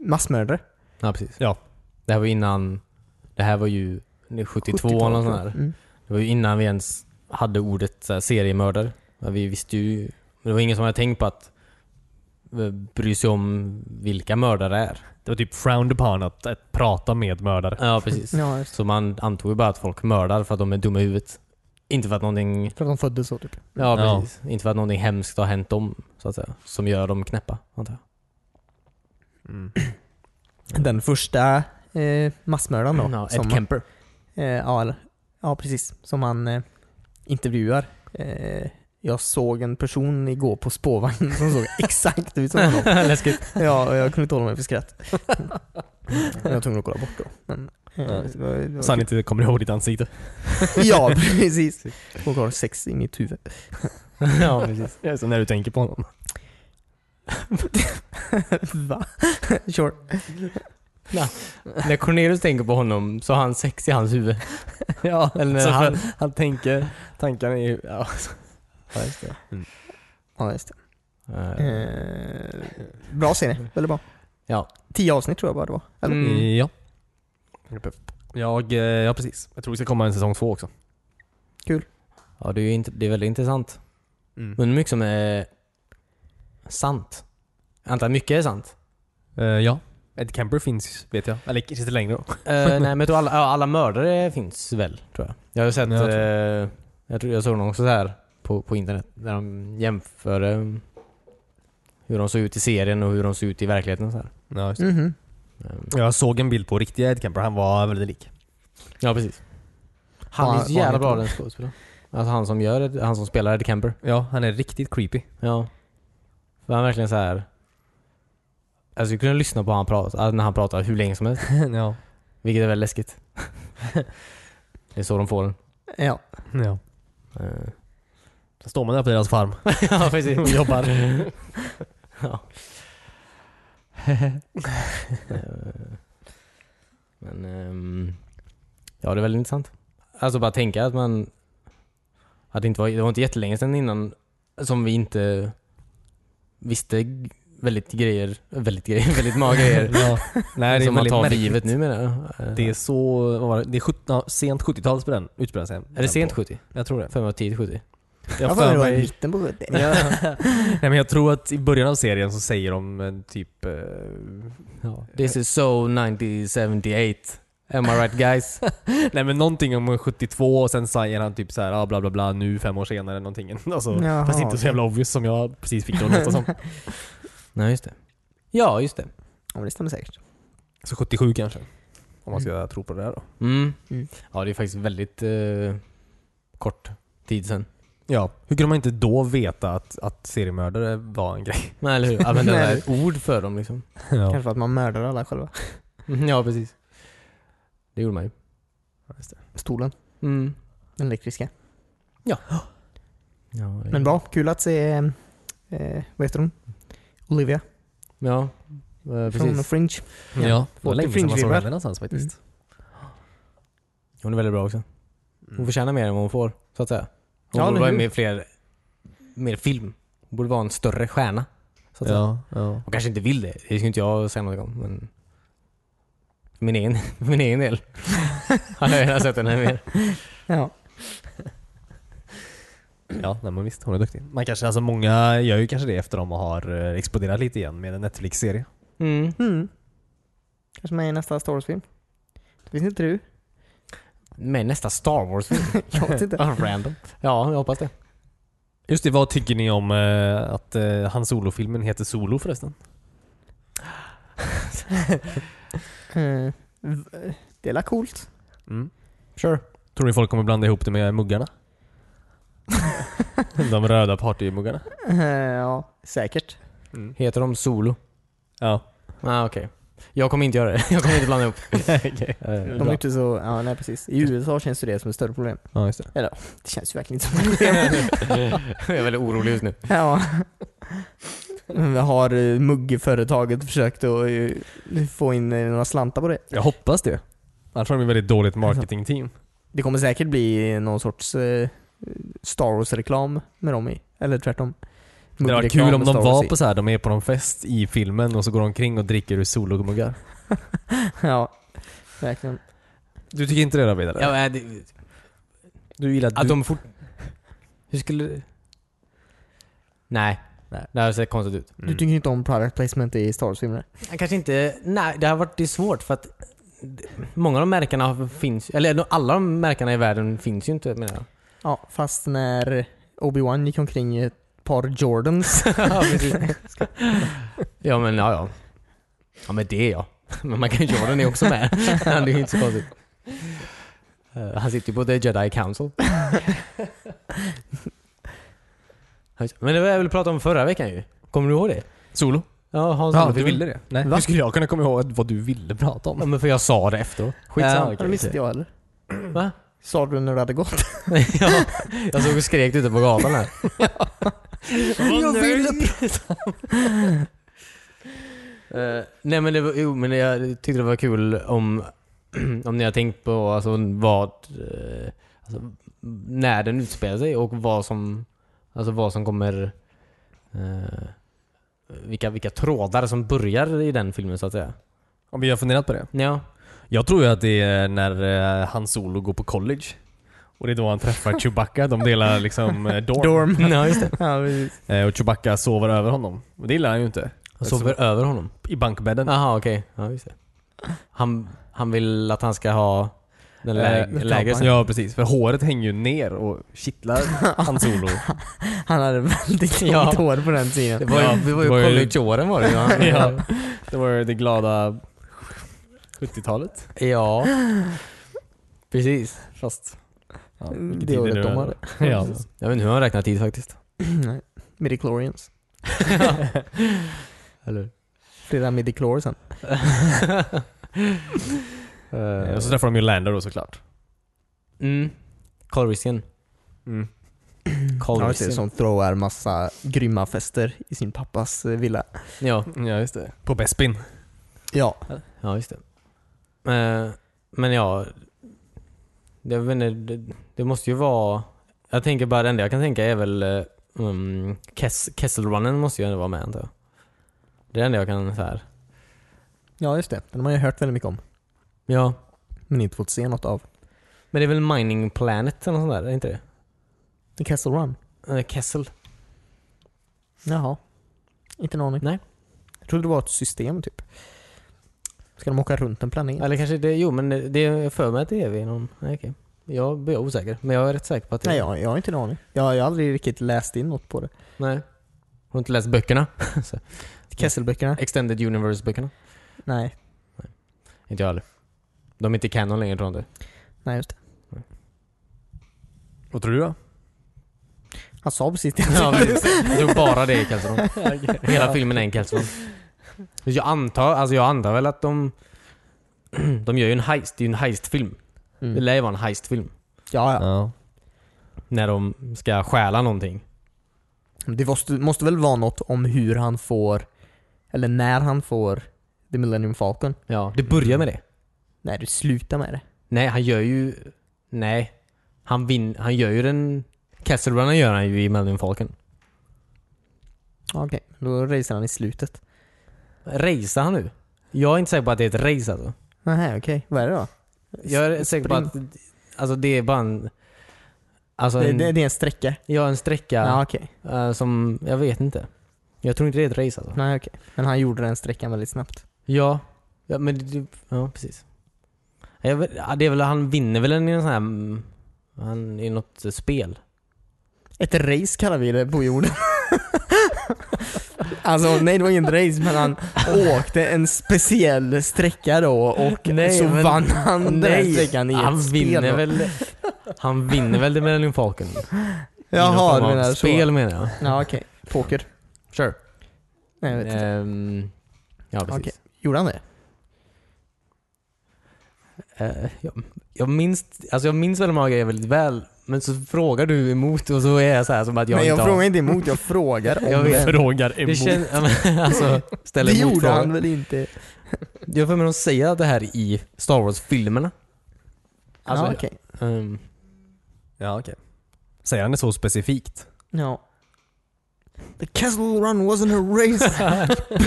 massmördare. ja, precis. Ja. Det här var innan... Det här var ju 72, 72 eller något sånt tror jag. där. Mm. Det var ju innan vi ens hade ordet så här, seriemördare. Ja, Vi visste ju, men det var ingen som hade tänkt på att eh, bry sig om vilka mördare det är. Det var typ frowned upon att, att prata med mördare. Ja, precis. Ja, just det. Så man antog ju bara att folk mördar för att de är dumma i huvudet. Inte för att någonting, För att de föddes så typ. ja, Ja. precis. Inte för att någonting hemskt har hänt dem, så att säga. Som gör dem knäppa, antar jag. Mm. Den första eh, massmördaren då. Ja, som Ed Kemper. eh, ja, eller, ja, precis. Som han eh, intervjuar eh, Jag såg en person igår på spårvagn som såg exakt ut som honom. Läskigt. Ja, och jag kunde inte hålla mig för skratt. Jag var tvungen att kolla bort då. Men, eh, Ja. det var- det var Så han inte kommer ihåg ditt ansikte. kul. Ja, precis. Folk har sex i mitt huvud. ja, precis. Det är så när du tänker på honom. Va? Sure. När Cornelius tänker på honom så har han sex i hans huvud. Ja, Eller när han... han tänker, tankarna är ju... Ja, ja just det. Ja, just det. Eh, Eh, bra serie. Väldigt bra. Ja. Tio avsnitt tror jag bara det var. Eller? Mm. Ja. Jag, eh, ja precis. Jag tror vi ska komma en säsong två också. Ja, det är, ju inte, det är väldigt intressant. Mm. Undrar hur mycket som är sant. Jag antar att mycket är sant. Eh, ja. Ed Kemper finns vet jag. Eller kanske inte längre då. Eh, nej, men jag tror alla, ja, alla mördare finns väl, tror jag. Jag har ju sett... Ja, jag Jag, eh, jag, tror, jag såg någon också så här på, på internet, där de jämför eh, hur de såg ut i serien och hur de såg ut i verkligheten. och Så här. Ja, just Mhm. Eh, det. Mm. Jag såg en bild på riktiga Ed Kemper, han var väldigt lik. Ja, precis. Han Fan, är så vad jävla han bra heter. den skådespelaren. Alltså han som gör det, han som spelar Ed Kemper. Ja, han är riktigt creepy. Ja. För han är verkligen så här. Alltså jag kunde lyssna på han prata, alltså, när han pratar hur länge som helst. ja. Vilket är väldigt läskigt. det är så de får den. Ja. ja. Eh, Sen står man där på deras farm. ja precis. Och jobbar. ja. Eh, Men ehm, ja, det är väldigt intressant. Alltså bara tänka att man... Att det, inte var, det var inte jättelänge sedan innan som vi inte visste g- väldigt grejer, väldigt grejer, väldigt många grejer. ja. Nej, det är som man väldigt tar för märkligt. givet nu menar jag. Eh, Det är så, vad var det? Det är 17, ja, sent 70-tal spelar den- utspelar sig. är det sent 70? Jag tror det. För mig var tidigt 70? Jag har för mig det var i mitten på det. Nej men jag tror att i början av serien så säger de eh, typ... eh, ja. This is so 1978. Am I right guys? Nej men någonting om 72 och sen säger han typ så här, ah, bla bla bla nu fem år senare någonting. Alltså, Jaha, fast inte så jävla obvious som jag precis fick det att låta som. Nej, just det. Ja, just det. Ja, men det stämmer säkert. Så 77 kanske. Om man ska tro på det där då. Mm. Mm. Ja, det är faktiskt väldigt eh, kort tid sedan. Ja, hur kunde man inte då veta att, att seriemördare var en grej? Nej, eller hur? Använda Nej. det ett ord för dem liksom. Ja. Kanske för att man mördar alla själva. Mm, Ja, precis. Det gjorde man ju. Stolen. Mm. Den elektriska. Ja, det- Men bra. Kul att se, eh, vad heter hon? Olivia. Ja, eh, Från precis. Fringe. Ja, ja. det var Åter länge Mm. sedan man såg fringe-vibbar. henne någonstans faktiskt. Hon är väldigt bra också. Hon förtjänar mer än vad hon får, så att säga. Hon Ja, borde eller vara hur? med i fler, mer film. Hon borde vara en större stjärna. Så att säga. Ja, ja. Hon kanske inte vill det. Det ska inte jag säga något om. Men för min egen, för min egen del hade jag gärna sett henne mer. Ja. Ja, nej, men visst. Hon är duktig. Man kanske, alltså många gör ju kanske det efter de har eh, exploderat lite igen med en Netflix-serie. Mm. Mm. Kanske med i nästa Star Wars-film. Det visste inte du? Med i nästa Star Wars-film. Jag vet inte. Random. Ja, jag hoppas det. Just det, vad tycker ni om eh, att eh, Han Solo-filmen heter Solo förresten? Eh, v- det är la coolt. Mm. Sure. Tror ni folk kommer blanda ihop det med muggarna? de röda partymuggarna? Eh, ja, säkert. Heter de Solo? Ja. ah, okej. Jag kommer inte göra det. Jag kommer inte blanda ihop. Okej. Eh, De är inte så... Ja, nej precis. I USA känns ju det som ett större problem. Ja, just det. Det känns ju verkligen inte som ett problem. jag är väldigt orolig just nu. Ja. Men Har eh, muggföretaget försökt att eh, få in eh, några slantar på det? Jag hoppas det. Annars har de ett väldigt dåligt marketingteam. Det kommer säkert bli någon sorts eh, Star Wars-reklam med dem i. Eller tvärtom. Det var Muggreklam kul om med de Star Wars var i. på så här, de är på någon fest i filmen och så går de omkring och dricker ur solomuggar. Ja, verkligen. Du tycker inte det David? eller? Ja, eh, det, Du gillar att de fort... Hur skulle... Nej. Nej. Det här ser konstigt ut. Mm. Du tycker inte om product placement i Star Wars-filmer? Jag Kanske inte... Nej, det har varit det är svårt för att det- många av de märkena finns Eller de- alla de märkena i världen finns ju inte menar jag. Ja, fast när Obi-Wan gick omkring i ett par Jordans. ja, precis. ja, men ja, ja. Ja, men det ja. Men man kan ju göra den är också med. det är ju inte så konstigt. Eh, han sitter ju på The Jedi Council. Men det var jag ville prata om förra veckan ju. Kommer du ihåg det? Solo? Ja, Hans Ja, Andersson. du ville det? Nej. Va? Hur skulle jag kunna komma ihåg vad du ville prata Ja, om? men för jag sa det efteråt. Skitsamma. Ja, Det missade jag heller. Va? Sa du när du hade gått? ja, jag såg och skrek ute på gatan här. Jag ville Eh, nej men, det var, jo, men jag tyckte det var kul om, om ni har tänkt på alltså, vad, eh, alltså, när den utspelar sig och vad som, alltså, vad som kommer, eh, vilka, vilka trådar som börjar i den filmen så att säga. Om vi har funderat på det? Ja, Jag tror ju att det är när eh, Han Solo går på college. Och det är då han träffar Chewbacca. De delar liksom eh, dorm. ja just det. ja, precis. Eh, Och Chewbacca sover över honom. Och det gillar han ju inte. Han sover över honom. I bankbädden. Jaha okej, ja just det. Han, han vill att han ska ha den lä- Eh, lägre sen. Ja precis, för håret hänger ju ner och kittlar Han Solo. Han hade väldigt långt Ja. hår på den tiden. Det var ju, Ja, det var ju det var ju- collegeåren var det ju. Han- ja. Det var ju det glada 70-talet. Ja. Precis. Fast... Ja, Mm, Det vilket tid året det de nu är. hade. Ja. Jag vet inte hur han räknar tid faktiskt. Nej. Midichlorians. Eller Flera midichlor sen. Eh, Och så träffar de ju Lando då såklart. Mm. Colrisken. Mm. Ja, Colrisken. just det, som throwar massa grymma fester i sin pappas eh, villa. Ja, Ja just det. På Bespin. Ja. ja just det. Eh, Men ja. Jag vet inte, det, det måste ju vara... Jag tänker bara det enda jag kan tänka är väl eh, um, Kess, Kesselrunnen måste ju ändå vara med antar jag. Det är det enda jag kan så här. ja, just det. Den har man ju hört väldigt mycket om. Ja. Men inte fått se något av. Men det är väl Mining Planet eller något sånt där, är det inte det? The Castle Run. Eh, Kessel. Jaha. Inte en aning. Nej. Jag trodde det var ett system typ. Ska de åka runt en planet? Eller kanske det, jo men det- det jag för mig att det är vid någon, nej okej. Jag blir osäker, men jag är rätt säker på att det Nej, jag, jag har inte en aning. Jag, jag har aldrig riktigt läst in något på det. Nej. Har du inte läst böckerna? Så, Kesselböckerna? Extended Universe-böckerna? Nej. Inte jag heller. De är inte canon längre tror jag inte. Nej, just det. Vad tror du då? Han sa precis det. Ja, precis. Jag tror bara det är Kelson. Hela filmen är en Kelson. Jag antar, alltså jag antar väl att de... De gör ju en heist, det är ju en heistfilm. Det Mm. lär ju vara en heistfilm. Ja, ja. När de ska stjäla någonting. Det måste, måste väl vara något om hur han får, eller när han får The Millennium Falcon. Ja, det börjar med det. Nej, du slutar med det. Nej, han gör ju... Nej. Han, vin, han gör ju den... Castle Runner gör han ju i Millennium Falcon. Ja, Okej, då racear han i slutet. Racear han nu? Jag är inte säker på att det är ett race alltså. Nej, okej. Vad är det då? Jag är säker på att... Alltså det är bara en... Alltså Det, en, det, det är en sträcka? ja, en Ja, sträcka okej. eh, som... Jag vet inte. Jag tror inte det är ett race alltså. Nej, okej. Men han gjorde den sträckan väldigt snabbt. Ja. Ja, men det, ja precis. Jag vet, ja, det är väl, han vinner väl en i en sån här... mm, Han, I något spel. Ett race kallar vi det på jorden. alltså nej det var ingen race men han åkte en speciell sträcka då och Nej, så men- vann han den här sträckan i han ett spel vinner då. väl... Han vinner väl det Millennium Falcon? I någon Jaha, form du av menar Spel så. menar jag. Ja okej. Poker. Sure. Nej, jag vet inte. Ehm, ja, precis. Okej. Gjorde han det? Eh, jag, jag, minns, alltså jag minns väldigt många grejer väldigt väl, men så frågar du emot och så är jag så här som att jag Nej inte jag frågar har... inte emot, jag frågar om Jag vet. det. Frågar Det emot. känns, ja, men, alltså, Det ställer gjorde motfrågor. han väl inte? Jag har för mig att de säger det här i Star Wars-filmerna. Alltså, ja okej. ehm, Ja okej. Säger han det så specifikt? Ja. The castle run wasn't a race.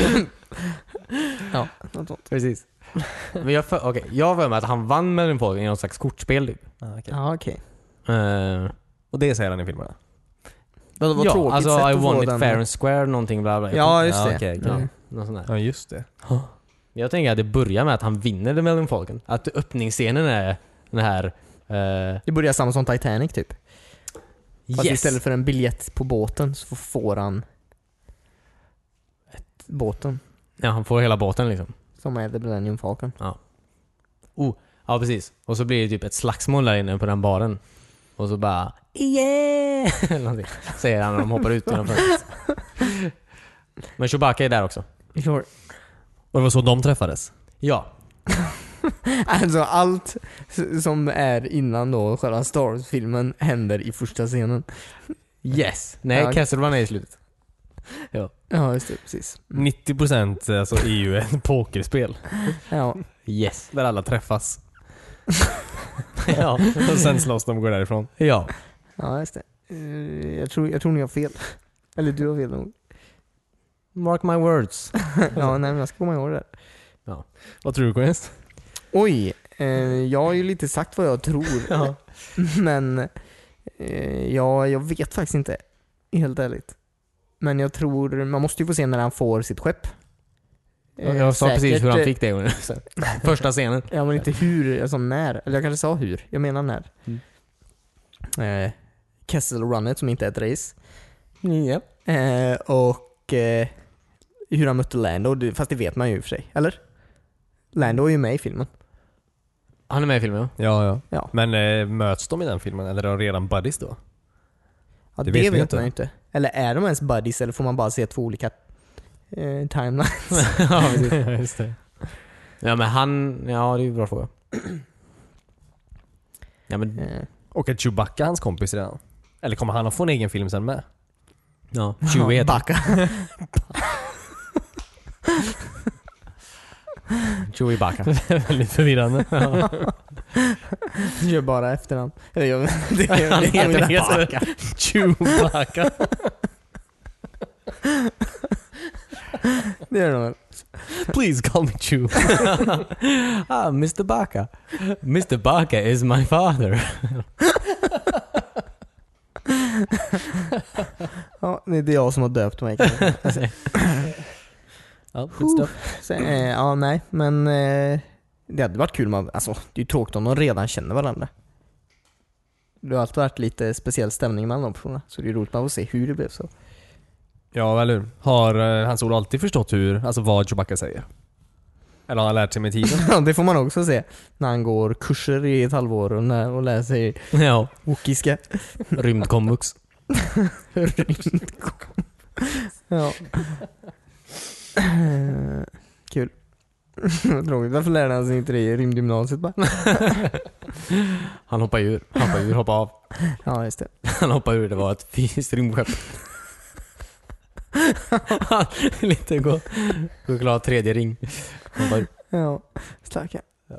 ja, något sånt. precis. men jag för, okej, jag har för mig att han vann Millennium Falcon i något slags kortspel typ. Ja, okej. Ja okej. Eh, Och det säger han i filmerna? Vad, vad ja, tråkigt sätt alltså I att få won it den. fair and square någonting bla bla. Ja, just det. okej, okej. Ja, Mm. något sånt där. Ja just det. Jag tänker att det börjar med att han vinner The Millennium Falcon. Att öppningsscenen är den här... eh, Det börjar samma som Titanic typ. Fast yes! istället för en biljett på båten så får han båten Ja, han får hela båten liksom. som är The Millennium Falcon. Ja, precis. Och så blir det typ ett slagsmål där inne på den baren. Och så bara... yeah! Eller någonting. Säger han när de hoppar ut genom fönstret. Men Chewbacca är där också. Sure. Och det var så de träffades? Ja. Alltså allt s- som är innan då själva Star Wars-filmen händer i första scenen. Yes. Nej, Ja. Kessel var med i slutet. Ja, just det. Precis. Mm. 90% alltså är ju ett pokerspel. Ja. Yes. Där alla träffas. ja. Och sen slåss de och går därifrån. ja. Ja, just det. Eh, Jag tror, jag tror ni har fel. Eller du har fel nog. Mark my words. Ja, nej men jag ska komma ihåg det. där. Vad tror du Cornelius? Oj, eh, jag har ju lite sagt vad jag tror. Ja. Men eh, ja, jag vet faktiskt inte. Helt ärligt. Men jag tror, man måste ju få se när han får sitt skepp. Eh, Jag sa precis säkert, hur han eh, fick det. Gunnar. Första scenen. Ja men inte hur, alltså när. Eller jag kanske sa hur, jag menar när. Mm. Eh, Kessel Runnet som inte är ett race. Ja. Eh, och eh, hur han mötte Lando, det- fast det vet man ju i och för sig. Eller? Lando är ju med i filmen. Han är med i filmen ja. Ja, ja. Ja. Men eh, möts de i den filmen? Eller är de redan buddies då? Ja, Det det vet vi vet, inte. man ju inte. Eller är de ens buddies eller får man bara se två olika eh, timelines? ja, precis. Just det. ja men han, ja det är ju en bra fråga. Ja men, Eh, Och är Chewbacca hans kompis redan? Eller kommer han att få en egen film sen med? ja. Chewie heter han. Backa. Chewie Bacca. Väldigt förvirrande. Gör bara efternamn. Eller jag det, det, Han det, heter det, Backa. Chewbacca. det gör de väl. Please call me Chew. ah, Mr Bacca. Mr Bacca is my father. Ja, det är jag som har döpt mig. kanske. Ja, good stuff. Sen, eh, ja, nej, men eh, det hade varit kul om man, alltså det är ju tråkigt om de redan känner varandra. Det har alltid varit lite speciell stämning mellan de personerna, så det är roligt man får se hur det blev så. Ja, eller hur? Har eh, hans ord alltid förstått hur, alltså vad Chewbacca säger? Eller har han lärt sig med tiden? Ja, det får man också se när han går kurser i ett halvår och, när, och lär sig ja, wokiska. rymdkomvux. Ja. Eh, Kul. Tråkigt, varför lärde han sig inte det i rymdgymnasiet bara? Han hoppar ur. Han hoppar ur, hoppar av. Ja, just det. Han hoppar ur, det var ett fysiskt rymdskepp. Han lite gå choklad tredje ring. Hoppar ur. Ja, stackarn. Ja.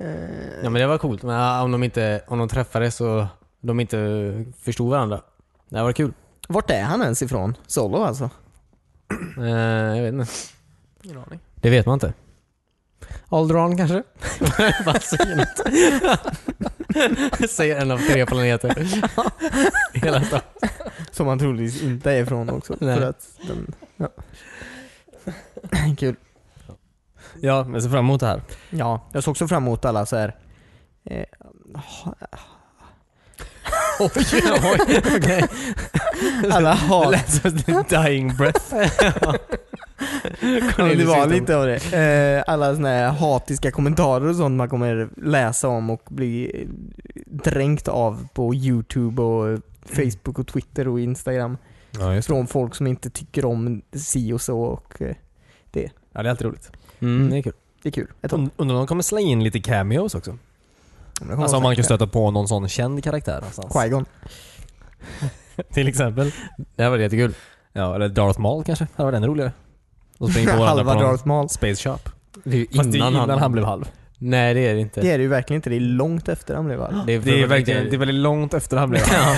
Eh, Ja men det var coolt. Men ah, om de inte, om de träffades och de inte förstod varandra. Det var kul. Vart är han ens ifrån? Solo alltså? Eh, jag vet inte. Det vet man inte. Alderan kanske? Vad säger något? säger en av tre planeter. Hela stan. Som han troligtvis inte är ifrån också. Nej. för att den, ja. Kul. Ja, jag ser fram emot det här. Ja, jag såg också fram emot alla så här. Eh, Oj, oj, okej. alla Det hat. lät som ett dying breath. Ja, men Det var liksom Cornelius lite av det. Eh, alla såna här hatiska kommentarer och sånt man kommer läsa om och bli eh, dränkt av på youtube och Facebook och Twitter och Instagram. Ja, just det. Från folk som inte tycker om si och så och eh, Ja, det är alltid roligt. Mm, det är kul. det är kul. Ett tag. Und- Undrar om de kommer slänga in lite cameos också? Men det kommer Alltså om man kan säkert- stöta på någon sån känd karaktär någonstans. Qui-Gon. Till exempel. Det här var jättekul. Ja, eller Darth Maul kanske. Det hade varit ännu roligare. De springer på varandra Halva på någon Darth Maul. space shop. Det är ju Fast det är innan han, blev halv. Nej det är det inte. Det är det ju verkligen inte. Det är långt efter han blev arg. är, väldigt långt efter han blev Ja.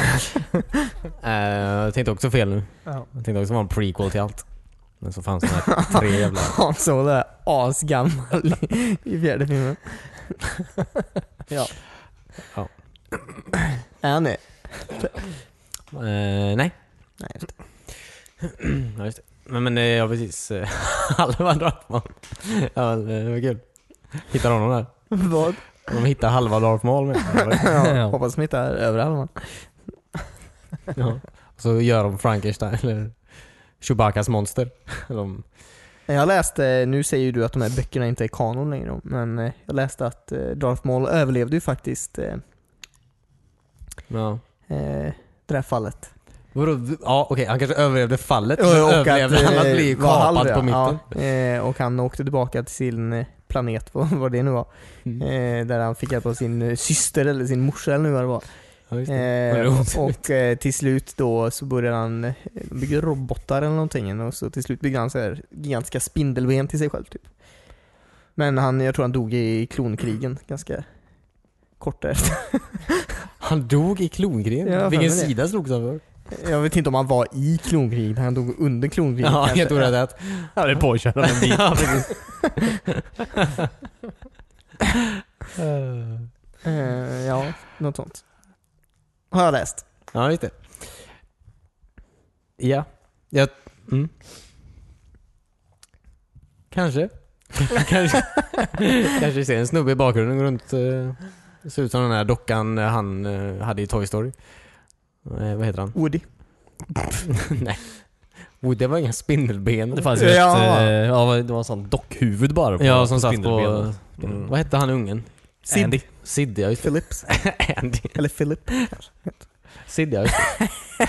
Eh, jag tänkte också fel nu. Jag tänkte också vara en prequel till allt. Men så fanns de här tre jävla... Han såg det asgammal i, i fjärde filmen. ja. Ja. Är han det? Eh, nej. Nej, just ja, just det. Men, men eh, ja precis. Eh, halva Darth Maul. Ja, det var kul. Hittar honom där. Vad? De hittar halva Darth Maul med. Ja, det var- Ja, hoppas de inte är överallt. Ja. Och så gör de Frankenstein eller Chewbaccas monster. De, Jag läste, nu säger ju du att de här böckerna inte är kanon längre, men eh, jag läste att eh, Darth Maul överlevde ju faktiskt eh, Ja. Eh, det där fallet. Vadå? V- Ja okej, han kanske överlevde fallet. Och men att, överlevde han att eh, bli var halv, kapad ja. på mitten. Ja, eh, och han åkte tillbaka till sin eh, planet, vad vad det nu var. Mm. Eh, där han fick hjälp av sin eh, syster eller sin morsa eller nu vad det var. Ja, just det. Vad Eh, roligt. och eh, till slut då så började han eh, bygga robotar eller någonting och så till slut byggde han så här gigantiska spindelben till sig själv typ. Men han, jag tror han dog i klonkrigen ganska kort därefter. Han dog i klonkrigen. Ja, jag Vilken för mig det. sida slogs han för? Jag vet inte om han var i klonkriget, han dog under klonkriget Ja, kanske. helt orättat. Han blev påkörd av en bil. Ja, precis. Eh, ja, något sånt. Har jag läst. ja, just det. Ja. Jag... Mm. Kanske. kanske. kanske vi ser en snubbe i bakgrunden gå runt. eh, Det ser ut som den här dockan eh, han eh, hade i Toy Story. Eh, vad heter han? Woody. Nej. Oh, det var inga spindelben. Det fanns ju Ja. ett, eh, ja, vad- det var en sån dockhuvud bara på ja, som satt på... spindelbenet. Mm. Vad hette han ungen? Sid. Andy. Sid, ja just det. Phillips. Andy. Eller Philip. Sid, ja just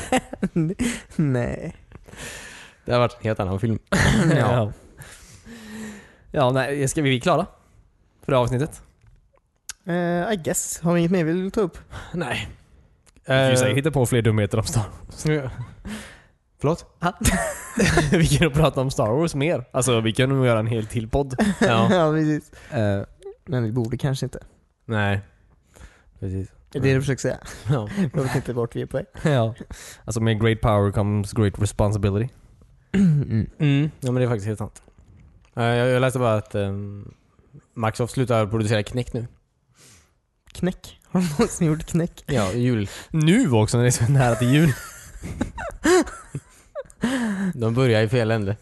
det. Nej. Det har varit en helt annan film. Ja. Ja. ja, nej, ska vi bli klara? För det här avsnittet? Eh, I guess. Har vi inget mer vi vill ta upp? Nej. Vi kan ju Eh, säkert hitta på fler dumheter om Star Förlåt? vi kan ju prata om Star Wars mer. Alltså vi kan nog göra en hel till podd. Ja. ja, precis. Eh, Men vi borde kanske inte. Nej. Precis. Det är det du försöker säga. Ja. Jag vet inte vart vi är på väg. ja. Alltså med great power comes great responsibility. Mm. ja, men det är faktiskt helt sant. Eh, Jag, jag läste bara att um, Microsoft slutar producera knäck nu. Knäck. Har du någonsin gjort knäck? Ja, i jul. Nu också när det är så nära till jul. De börjar i fel ände.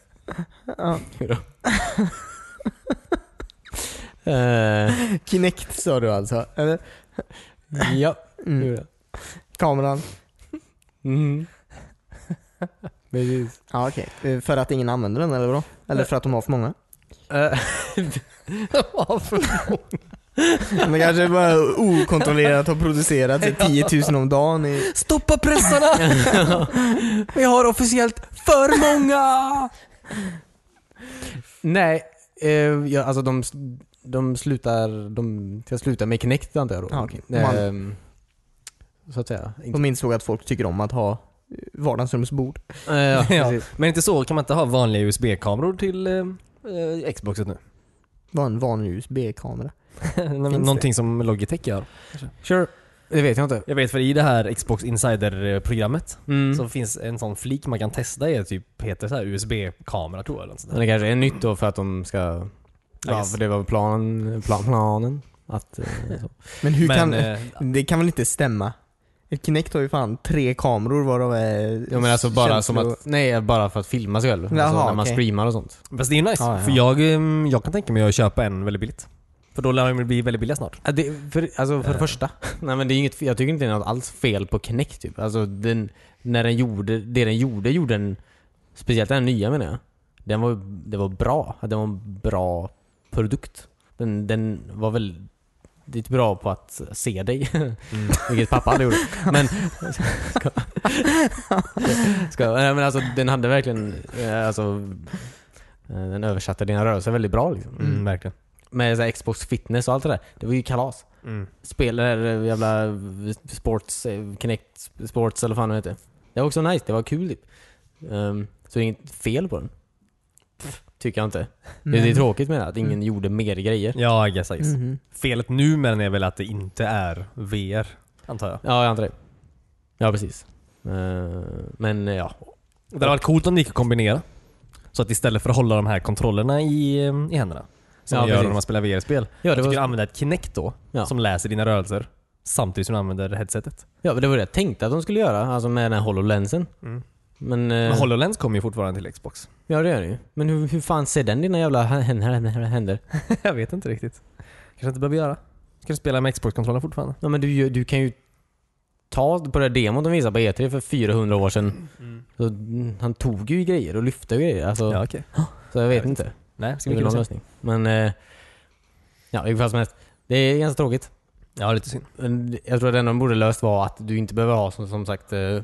Ja. Eh, Knäckt sa du alltså? Eller? ja, Mm. gjorde jag. Kameran. Mm. Precis. Ja okej. Eh, För att ingen använder den eller vadå? Eller för att de har för många? Eh, De kanske bara okontrollerat har producerat så 10 000 om dagen i... Stoppa pressarna! Vi har officiellt för många! Nej, eh, ja, alltså de, de slutar, de jag slutar med Kinect antar jag då. Ja, okej. Ehm, så att säga. Inte, De insåg att folk tycker om att ha eh, vardagsrumsbord. eh, ja, ja. precis. Men inte så, kan man inte ha vanliga USB-kameror till eh, eh, Xboxet nu? Vad en vanlig USB-kamera. Nej, men det? Någonting som Logitech gör. Sure. Det vet jag inte. Jag vet för i det här Xbox Insider-programmet Mm. så finns en sån flik man kan testa är typ, heter så här USB-kamera tror jag eller något sånt där. Men det kanske är nytt då för att de ska... I Ja, guess. för det var plan, plan, planen. Att, eh, så. Men hur Men, kan... eh, Det kan väl inte stämma? Ett Kinect har ju fan tre kameror varav är... Jag menar alltså bara som känslor- att, nej, bara för att filma sig själv. alltså Jaha, när man okej. streamar och sånt. Fast det är nice, Ja, ja. för jag, ehm, jag kan tänka mig att köpa en väldigt billigt. För då lär de ju bli väldigt billiga snart. Ja, det, för, alltså för det första, nej, men det är inget, jag tycker inte det är något alls fel på Kinect typ. Alltså den, när den gjorde, det den gjorde, gjorde den, speciellt den nya menar jag. Den var, det var bra, Att den var en bra produkt. Den, den var väl lite bra på att se dig, vilket pappa aldrig gjorde. Men, ska, ska, nej, men alltså den hade verkligen, eh, alltså, eh, den översatte dina rörelser väldigt bra liksom. Mm, verkligen. Med så här, Xbox fitness och allt det där. Det var ju kalas. Spelade det där jävla eh, sports, eh, Kinect Sports eller vad fan det heter. Det var också nice, det var kul typ. Ehm, så det är inget fel på den. Tycker jag inte. Det, det är tråkigt liksom. med det, att ingen gjorde mer grejer. Ja, I guess, I guess. Mm. Mhm. Felet nu med den är väl att det inte är VR, antar jag. Ja, jag antar det. Ja, precis. Ehm, men eh, ja. Det hade varit coolt om det gick att kombinera. Så att istället för att hålla de här kontrollerna i, ehm, i händerna, som Ja, man gör precis. när man spelar VR-spel. Ja, det Du kan var, använda ett Kinect då, Ja. Eh. som läser dina rörelser. Samtidigt som du använder headsetet. ja, men det var det jag tänkte att de skulle göra, alltså med den här HoloLensen. Mm. Men, eh, Men HoloLens kommer ju fortfarande till Xbox. ja det gör det ju. Men hur, hur fan ser den dina jävla händer? händer? jag vet inte riktigt. Kanske inte behöver göra. Ska du spela med Xbox-kontrollen fortfarande? Ja men du, gör- du kan ju ta på det där demon de visade på E3 för 400 år sedan. Så, mm, han tog ju grejer och lyfte ju grejer. Alltså, Ja, okej. så jag vet jag vet inte. Nej, ska Det är väl vi någon kul att se. lösning. Men eh, ja, i vilket fall som helst. Det är ganska tråkigt. Ja, lite synd. Men Jag tror att det enda de borde löst var att du inte behöver ha som, som sagt eh,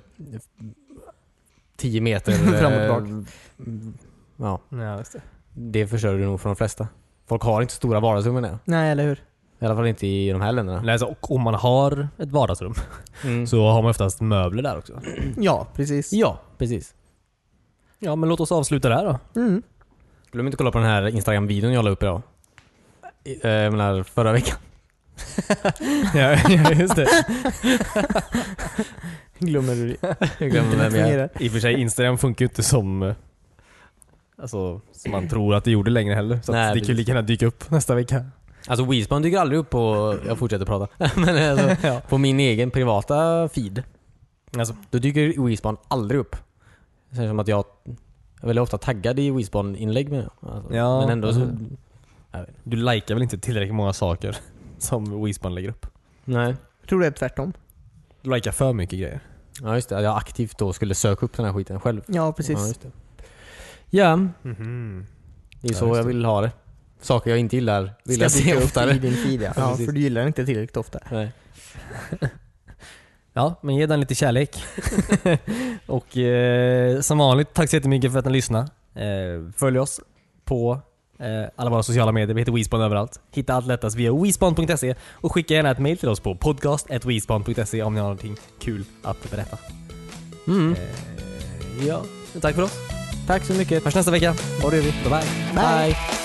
10 meter Fram och eh, tillbaka. Ja, Ja, just det. det förstör du nog för de flesta. Folk har inte stora vardagsrum än. Nej, eller hur? I alla fall inte i de här länderna. Men alltså, och om man har ett vardagsrum Mm. så har man oftast möbler där också. Ja, precis. Ja, precis. Ja, men låt oss avsluta där då. Mm. Glöm inte att kolla på den här Instagram-videon jag la upp idag. I- eh, Jag menar förra veckan. ja, just det. Glömmer du det? Jag glömde vem jag är. Fungerar. I och för sig, Instagram funkar ju inte som eh, Alltså, som man tror att det gjorde längre heller. Så Nej, att det kan ju precis. lika gärna dyka upp nästa vecka. Alltså Weespan dyker aldrig upp på... Jag fortsätter prata. Men alltså, Ja. på min egen privata feed. Alltså, Då dyker Weespan aldrig upp. Det känns som att jag är väldigt ofta taggad i Weespan-inlägg med alltså, Ja, Men ändå så... alltså. du likar väl inte tillräckligt många saker som Wispan lägger upp? Nej. Jag tror det är tvärtom. Du likar för mycket grejer. Ja just det, att jag aktivt då skulle söka upp den här skiten själv. Ja, precis. Ja, just det. ja Mhm. det är Ja, så just jag det. vill ha det. Saker jag inte gillar vill Ska jag se dyka upp I oftare. din feed, ja. ja precis. för du gillar det inte tillräckligt ofta. Nej. Ja, men ge den lite kärlek. och eh, som vanligt, tack så jättemycket för att ni lyssnade. Eh, följ oss på eh, alla våra sociala medier. Vi heter WeSpan överallt. Hitta allt lättast via WeSpan.se och skicka gärna ett mail till oss på podcast.wespan.se om ni har någonting kul att berätta. Eh, Mm. Ja, tack för oss. Tack så mycket. Hörs nästa vecka. Ha det vi. Bye bye. Bye. Bye.